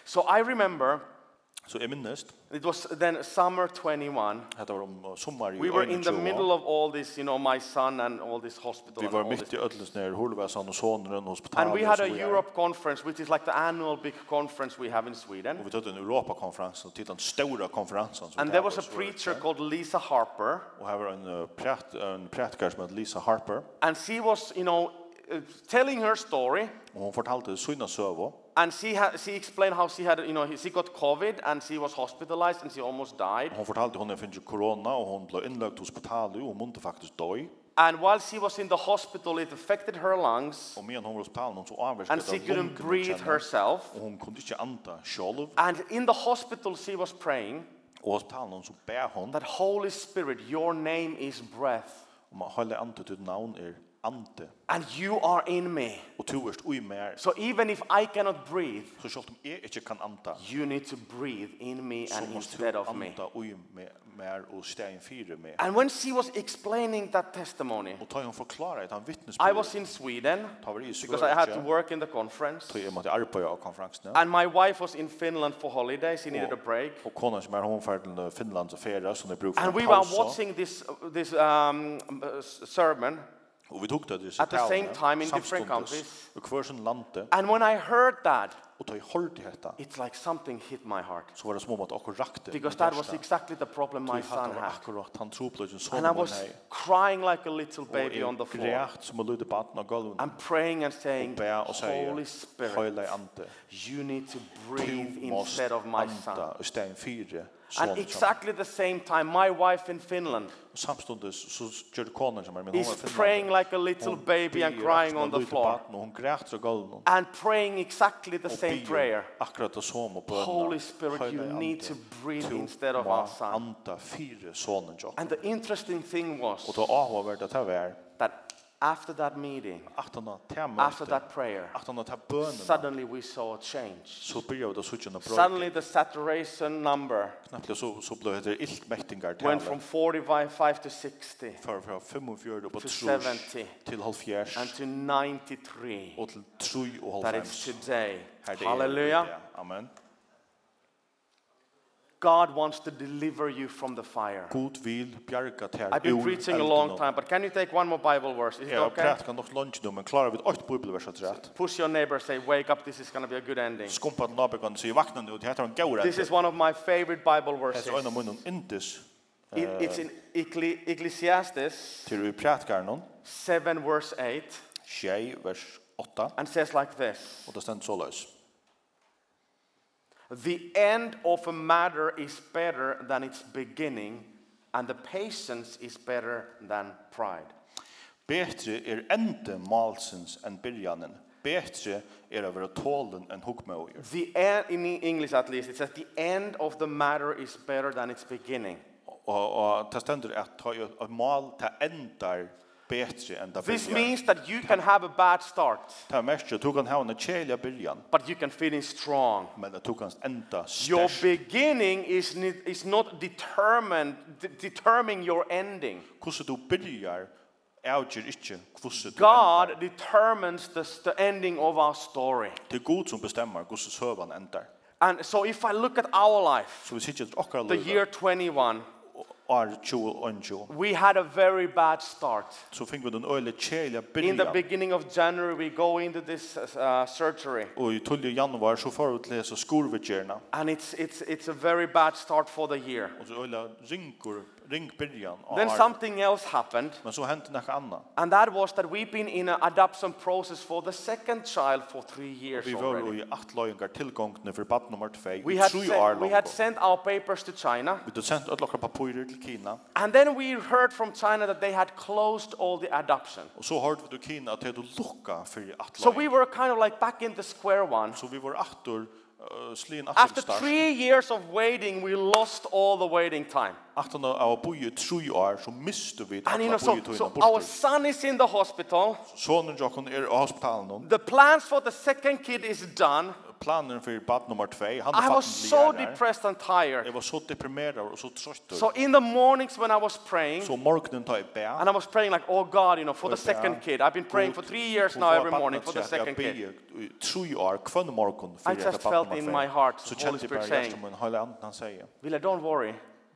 Speaker 2: So I remember
Speaker 3: Så jeg minnest,
Speaker 2: it was then summer 21.
Speaker 3: dette var om uh, sommar i
Speaker 2: We were Mm, in the
Speaker 3: 21.
Speaker 2: middle of all this, you know, my son and all this hospital.
Speaker 3: Vi
Speaker 2: and
Speaker 3: var
Speaker 2: all
Speaker 3: mitt i
Speaker 2: this.
Speaker 3: ödlesnär, Hulvasan och Sonren och hospitalet.
Speaker 2: And we had a Europe conference, which is like the annual big conference Oh, we have in Sweden.
Speaker 3: Och vi tog en Europakonferens och tittade den stora konferensen. som
Speaker 2: And
Speaker 3: det
Speaker 2: there
Speaker 3: var
Speaker 2: was a
Speaker 3: i Sverige.
Speaker 2: preacher called Lisa Harper.
Speaker 3: Och här var en uh, prätt, en prätkar som hette Lisa Harper.
Speaker 2: And she was, you know, uh, telling her story.
Speaker 3: Och hon fortalte sina sövå.
Speaker 2: And she, had, she explained how she had, you know, she got COVID and she was hospitalized and she almost died.
Speaker 3: Hon fortalte hon er finns ju corona och hon blev inlagt hos hospitalet och hon måste faktiskt dö.
Speaker 2: And while she was in the hospital, it affected her lungs
Speaker 3: Och medan hon var hos hospitalet hon så avvärskade
Speaker 2: and she couldn't breathe herself.
Speaker 3: Och hon kunde inte anta själv.
Speaker 2: And in the hospital, she was praying
Speaker 3: Och hospitalet hon så bär hon
Speaker 2: that Holy Spirit, your name is breath,
Speaker 3: om att hålla ante till namn är er ante.
Speaker 2: and you are in me.
Speaker 3: Och du är i mer.
Speaker 2: So even if I cannot breathe,
Speaker 3: Så själv om jag inte kan anta
Speaker 2: you need to breathe in me
Speaker 3: så
Speaker 2: and
Speaker 3: måste
Speaker 2: instead
Speaker 3: du
Speaker 2: of me.
Speaker 3: anta ui med mer och stägen fyra med.
Speaker 2: And when she was explaining that testimony,
Speaker 3: Och ta hon förklara att han
Speaker 2: I was
Speaker 3: vittnesbörd.
Speaker 2: in Sweden
Speaker 3: Ta var i
Speaker 2: because I had to
Speaker 3: Sverige.
Speaker 2: work in the conference.
Speaker 3: Så jag måste arbeta av konferensen.
Speaker 2: And my wife was in Finland for holidays. She needed a break.
Speaker 3: Och konan som är hon färd till Finland och färja som det brukar
Speaker 2: And we were watching this, this um, uh, s- sermon.
Speaker 3: Och vi tog det till
Speaker 2: At the same time in different countries.
Speaker 3: Och kvar som landet.
Speaker 2: And when I heard that,
Speaker 3: Och ta i håll till detta.
Speaker 2: it's like something hit my heart.
Speaker 3: Så var det små att och rakte.
Speaker 2: Because that was exactly the problem my son had.
Speaker 3: Akkurat han tror på sin son.
Speaker 2: And I was crying like a little baby on the floor.
Speaker 3: Grät som att lyda på vatten och golven.
Speaker 2: I'm praying and saying,
Speaker 3: Bär och säger.
Speaker 2: Holy Spirit,
Speaker 3: Holy ante.
Speaker 2: you need to breathe
Speaker 3: Du måste
Speaker 2: instead of my son.
Speaker 3: anta i stägen fyra.
Speaker 2: And exactly the same time, my wife in Finland
Speaker 3: Och samstundes så gör konan som är min
Speaker 2: is praying like a little baby and crying on the floor.
Speaker 3: Hon grät så golven.
Speaker 2: And praying exactly the
Speaker 3: og
Speaker 2: same
Speaker 3: biður
Speaker 2: prayer.
Speaker 3: Akkurat det som og bønna.
Speaker 2: Holy Spirit, you
Speaker 3: Heilige
Speaker 2: need
Speaker 3: Ande,
Speaker 2: to breathe
Speaker 3: du
Speaker 2: instead of
Speaker 3: må
Speaker 2: our son.
Speaker 3: Anta fire sonen jo.
Speaker 2: And the interesting thing
Speaker 3: Og
Speaker 2: was
Speaker 3: då ahva vart at her
Speaker 2: that after that meeting,
Speaker 3: achtana tema.
Speaker 2: after that prayer,
Speaker 3: achtana ta bønna.
Speaker 2: suddenly we saw a change.
Speaker 3: Så byrja við at søkja na brøð.
Speaker 2: Suddenly the saturation number
Speaker 3: Knappliga så så bløð det ilt mektingar
Speaker 2: went from
Speaker 3: til.
Speaker 2: 45 to 60
Speaker 3: Fra fra 45 og på
Speaker 2: to
Speaker 3: 70
Speaker 2: 70
Speaker 3: til
Speaker 2: and
Speaker 3: 70
Speaker 2: to 93.
Speaker 3: og til 3 og
Speaker 2: That is
Speaker 3: 90.
Speaker 2: today.
Speaker 3: Her det er-
Speaker 2: Hallelujah.
Speaker 3: Amen.
Speaker 2: God wants to deliver you from the fire.
Speaker 3: God vil bjarga ter.
Speaker 2: I've been preaching a long time, but can you take one more Bible verse? Is it
Speaker 3: Ja, og
Speaker 2: okay?
Speaker 3: prætt kan nok lunch nu, men klarar vi åtta bibelvers att rätt.
Speaker 2: Push your neighbor, say, wake up, this is going to be a good ending.
Speaker 3: skumpat nabekon så jag vaknar nu och det heter en gaura.
Speaker 2: This is one of my favorite Bible
Speaker 3: Det
Speaker 2: verses.
Speaker 3: är en av munnen intis
Speaker 2: It, it's in Ecclesi- Ecclesiastes
Speaker 3: till vi prätkar någon.
Speaker 2: 7, verse 8,
Speaker 3: Tjej, vers 8.
Speaker 2: and says like this
Speaker 3: Och det ständer så lös.
Speaker 2: The end of a matter is better than its beginning, and the patience is better than pride.
Speaker 3: Betre er ende malsens enn byrjanen. Betre er å være tålen enn hukmøyer.
Speaker 2: The end, in English at least, it says the end of the matter is better than its beginning.
Speaker 3: Og, og det stender at ta jo at mal ta endar betre enn det
Speaker 2: This
Speaker 3: byrjan.
Speaker 2: means that you can have a bad start,
Speaker 3: Ta mest at du kan ha en kjelja byrjan,
Speaker 2: but you can finish strong.
Speaker 3: men at du kan enda
Speaker 2: Your
Speaker 3: størst.
Speaker 2: beginning is, ne- is not determined, de- determining your ending.
Speaker 3: Hvordan du byrjar avgjør ikke hvordan du endar.
Speaker 2: God determines the, st- the ending of our story.
Speaker 3: Det er god som bestemmer hvordan søvan endar.
Speaker 2: And so if I look at our life,
Speaker 3: Så vi sitter til okkar
Speaker 2: the year
Speaker 3: løyga,
Speaker 2: 21,
Speaker 3: år 2021,
Speaker 2: we had a very bad start.
Speaker 3: så fink vi den øyla kjelja
Speaker 2: In the
Speaker 3: byrjan.
Speaker 2: beginning of January, we go into this uh, surgery.
Speaker 3: Og i 12. januar så får vi til lesa skurvedgjerna.
Speaker 2: And it's, it's, it's a very bad start for the year.
Speaker 3: Og så øyla ringur, ring byrjan. av
Speaker 2: Then
Speaker 3: året.
Speaker 2: something else happened.
Speaker 3: Men så hendte nekka anna.
Speaker 2: And that was that we've been in an adoption process for the second child for three years
Speaker 3: Vi var
Speaker 2: already.
Speaker 3: i atløyingar tilgångene for bad nummer 2 i
Speaker 2: We had,
Speaker 3: tru år
Speaker 2: sent, we had
Speaker 3: langt.
Speaker 2: sent our papers to China.
Speaker 3: Vi hadde sendt alle okkar papirer til Kina,
Speaker 2: And then we heard from China that they had closed all the adoption.
Speaker 3: og så hørte vi til Kina at det hadde lukka for
Speaker 2: So we
Speaker 3: atløyingar.
Speaker 2: were kind of like back in the square one.
Speaker 3: Så vi var atur, uh, slin
Speaker 2: After
Speaker 3: atur start.
Speaker 2: three years of waiting, we lost all the waiting time.
Speaker 3: Aftan av å bo i tru år, så miste vi
Speaker 2: And you
Speaker 3: atla
Speaker 2: know,
Speaker 3: bo
Speaker 2: so,
Speaker 3: i tøyna
Speaker 2: so our
Speaker 3: bortur.
Speaker 2: son is in the hospital.
Speaker 3: Sonen jokken er av hospitalen.
Speaker 2: The plans for the second kid is done.
Speaker 3: Planen for bad nummer 2, han
Speaker 2: I
Speaker 3: er
Speaker 2: was so
Speaker 3: fatten blir
Speaker 2: depressed and tired.
Speaker 3: Jeg var så deprimerad og så trøttur.
Speaker 2: So in the mornings when I was praying,
Speaker 3: Så morgenen tar jeg bæ.
Speaker 2: and I was praying like, oh God, you know, for the
Speaker 3: Og jeg bæ.
Speaker 2: second kid. I've been er praying for
Speaker 3: Gud,
Speaker 2: three years
Speaker 3: hun
Speaker 2: now
Speaker 3: får
Speaker 2: every
Speaker 3: barnet
Speaker 2: morning for the
Speaker 3: sitt. Jeg
Speaker 2: second kid.
Speaker 3: ber i tre år, kvann morgon for
Speaker 2: I just felt in my heart
Speaker 3: Så
Speaker 2: the Holy
Speaker 3: kjente jeg
Speaker 2: Spirit
Speaker 3: bare
Speaker 2: saying-
Speaker 3: hjertet min, hele anden han sier,
Speaker 2: Ville, don't worry.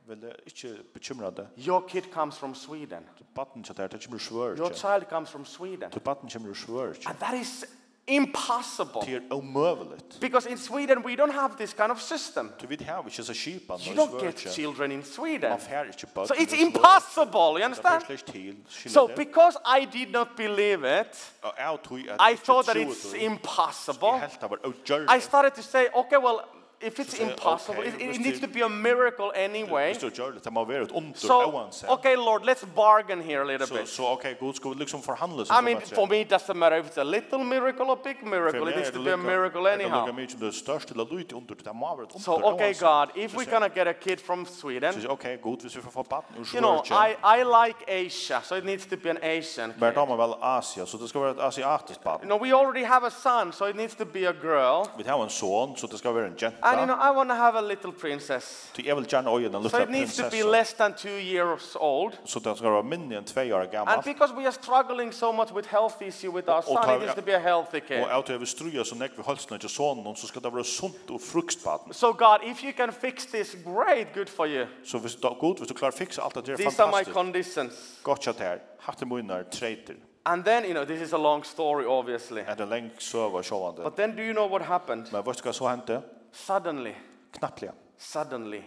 Speaker 3: vil jeg ikke bekymre deg.
Speaker 2: Your kid comes from Sweden.
Speaker 3: Baden til det, det kommer svør
Speaker 2: Your
Speaker 3: ikke.
Speaker 2: child comes from Sweden.
Speaker 3: Til baden kommer svør ikke.
Speaker 2: And that is impossible.
Speaker 3: Det er omøveligt.
Speaker 2: Because in Sweden, we don't have this kind of system.
Speaker 3: Du vet her, vi ikke så kjipa
Speaker 2: You
Speaker 3: når
Speaker 2: don't
Speaker 3: svør
Speaker 2: get
Speaker 3: ikke.
Speaker 2: children in Sweden.
Speaker 3: Man fær ikke baden.
Speaker 2: So it's impossible, you
Speaker 3: Det er
Speaker 2: understand?
Speaker 3: slik til.
Speaker 2: So
Speaker 3: skiljer det.
Speaker 2: because I did not believe it,
Speaker 3: Og jeg tog at
Speaker 2: I
Speaker 3: jeg ikke
Speaker 2: thought that
Speaker 3: troede
Speaker 2: it's
Speaker 3: det.
Speaker 2: impossible.
Speaker 3: Jeg helt det var utgjørende.
Speaker 2: I started to say, okay, well, if it's
Speaker 3: say,
Speaker 2: impossible,
Speaker 3: okay,
Speaker 2: it, it
Speaker 3: let's
Speaker 2: needs
Speaker 3: do-
Speaker 2: to be a miracle anyway.
Speaker 3: Hvis du gjør det, det må være et ondur,
Speaker 2: So,
Speaker 3: oansett.
Speaker 2: okay, Lord, let's bargain here a little
Speaker 3: Så
Speaker 2: bit.
Speaker 3: så okej, Gud ska liksom förhandla så
Speaker 2: I mean, for me, it doesn't matter if it's a little miracle or big miracle. It needs to be a miracle
Speaker 3: Jag
Speaker 2: anyhow.
Speaker 3: menar det största lilla ut under det må vara ett under.
Speaker 2: So, okay, God, if we're gonna get a kid from Sweden,
Speaker 3: Så okej, Gud, hvis vi får få barn ur
Speaker 2: you know,
Speaker 3: Sverige.
Speaker 2: I, I like Asia, so it needs to be an Asian
Speaker 3: Men
Speaker 2: kid.
Speaker 3: då man väl Asien, så det ska vara ett asiatiskt
Speaker 2: You
Speaker 3: barn.
Speaker 2: know, we already have a son, so it needs to be a girl.
Speaker 3: Vi har en son, så det ska vara en
Speaker 2: And, you know,
Speaker 3: jenta.
Speaker 2: I want to have a little princess.
Speaker 3: Så jag vill gärna öja den
Speaker 2: So
Speaker 3: lilla
Speaker 2: it needs to be
Speaker 3: prinsessan.
Speaker 2: less than two years old.
Speaker 3: Så det ska vara mindre än 2 år
Speaker 2: And
Speaker 3: gammal.
Speaker 2: because we are struggling so much with health issue with our
Speaker 3: Och- och
Speaker 2: son, it
Speaker 3: tar-
Speaker 2: needs to be a healthy kid.
Speaker 3: Och att över struja så näck vi halsen till sonen så ska det vara sunt och fruktbarn.
Speaker 2: So God, if you can fix this, great, good for you.
Speaker 3: Så hvis då Gud, hvis du klarar fixa allt det där
Speaker 2: These are my
Speaker 3: fantastiskt.
Speaker 2: conditions.
Speaker 3: Gott chat här. Hatte munnar traitor.
Speaker 2: And then, you know, this is a long story, obviously.
Speaker 3: Är Er det länk söva sjåvande.
Speaker 2: But then do you know what happened?
Speaker 3: Men vet du hva så hendte?
Speaker 2: Suddenly,
Speaker 3: Knappliga.
Speaker 2: suddenly,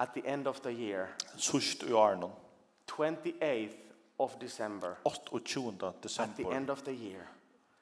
Speaker 2: at the end of the year,
Speaker 3: Sust i Arnon.
Speaker 2: 28th of December,
Speaker 3: 28.
Speaker 2: at the
Speaker 3: desember.
Speaker 2: end of the year,
Speaker 3: Oh,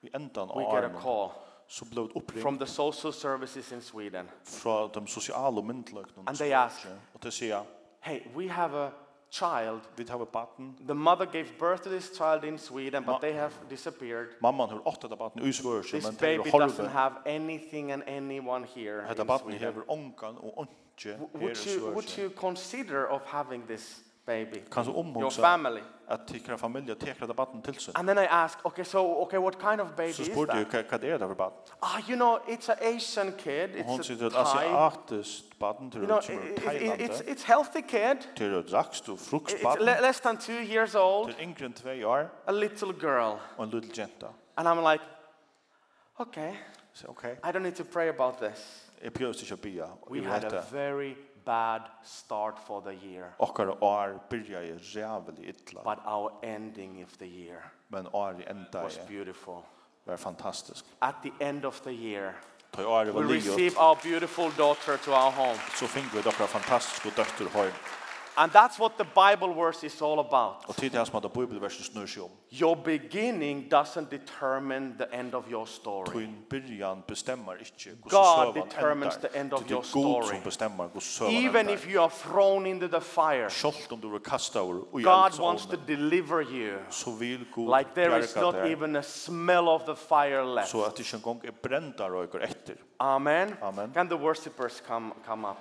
Speaker 3: I endan
Speaker 2: we
Speaker 3: av
Speaker 2: get a
Speaker 3: Arnon.
Speaker 2: call
Speaker 3: Så ble det
Speaker 2: from
Speaker 3: oppringt
Speaker 2: the social services in Sweden.
Speaker 3: fra de sosiale myndeløkene.
Speaker 2: And they asked-
Speaker 3: Og de sier,
Speaker 2: Hey, we have a child.
Speaker 3: vi tar ved baten.
Speaker 2: The mother gave birth to this child in Sweden,
Speaker 3: Ma-
Speaker 2: but they have disappeared.
Speaker 3: Mamman har åttet av baten utsvørelse,
Speaker 2: This
Speaker 3: men det er
Speaker 2: baby doesn't
Speaker 3: horve.
Speaker 2: have anything and anyone here
Speaker 3: Hette
Speaker 2: in
Speaker 3: baten
Speaker 2: Sweden.
Speaker 3: hever ongan og onge
Speaker 2: W-
Speaker 3: her i
Speaker 2: Would you, would
Speaker 3: svørelse.
Speaker 2: you consider of having this baby?
Speaker 3: Kan så
Speaker 2: Your
Speaker 3: omhåndsa
Speaker 2: family?
Speaker 3: at tikra familie tekra av baten til seg.
Speaker 2: And then I asked, okay, so okay, what kind of baby
Speaker 3: Så
Speaker 2: is
Speaker 3: spurte jeg,
Speaker 2: that?
Speaker 3: hva hva er det for baten?
Speaker 2: Ah, you know, it's an Asian kid.
Speaker 3: Og hun
Speaker 2: It's
Speaker 3: sier
Speaker 2: a
Speaker 3: at
Speaker 2: Thai.
Speaker 3: asiatisk baten til
Speaker 2: You know,
Speaker 3: hun
Speaker 2: i-
Speaker 3: kommer
Speaker 2: i-
Speaker 3: fra
Speaker 2: i- it's
Speaker 3: Ah, Thailand. eh?
Speaker 2: it's healthy kid.
Speaker 3: Til å rakst og
Speaker 2: I- It's le-
Speaker 3: fruktbaten.
Speaker 2: less than two years old.
Speaker 3: Til yngre enn 2 år.
Speaker 2: A little girl.
Speaker 3: og en liten jenta.
Speaker 2: And I'm like, okay,
Speaker 3: Så ok,
Speaker 2: I don't need to pray about this.
Speaker 3: jeg prøvde ikke å bia.
Speaker 2: We
Speaker 3: Vi
Speaker 2: had
Speaker 3: hadde
Speaker 2: a very bad start for the year,
Speaker 3: okkar år byrja jeg rævelig ytla,
Speaker 2: but our ending of the year
Speaker 3: men år enda
Speaker 2: was
Speaker 3: jeg
Speaker 2: beautiful.
Speaker 3: var fantastisk.
Speaker 2: At the end of the year,
Speaker 3: Ta år
Speaker 2: we
Speaker 3: var livet,
Speaker 2: receive our beautiful daughter to our home.
Speaker 3: så fink vi okkar fantastiske døtter høy.
Speaker 2: And that's what the Bible verse is all about.
Speaker 3: Og til det som at det bibelverset snur seg om.
Speaker 2: Your beginning doesn't determine the end of your story.
Speaker 3: Tøyen byrjan bestemmer ikke hvordan
Speaker 2: God
Speaker 3: søvan
Speaker 2: determines
Speaker 3: endar.
Speaker 2: the end of
Speaker 3: Ty
Speaker 2: your
Speaker 3: Det er
Speaker 2: story.
Speaker 3: Gud som bestemmer hvordan søvan
Speaker 2: Even if
Speaker 3: endar.
Speaker 2: you are thrown into the fire,
Speaker 3: Sjølt om du er kastet over og i
Speaker 2: God wants to
Speaker 3: eldsovnen,
Speaker 2: deliver you.
Speaker 3: så vil Gud
Speaker 2: Like there is
Speaker 3: bjerga
Speaker 2: not
Speaker 3: deg,
Speaker 2: even a smell of the fire left.
Speaker 3: så at det ikke engang er brent av røyker etter.
Speaker 2: Amen.
Speaker 3: Amen.
Speaker 2: Can the worshipers come, come up?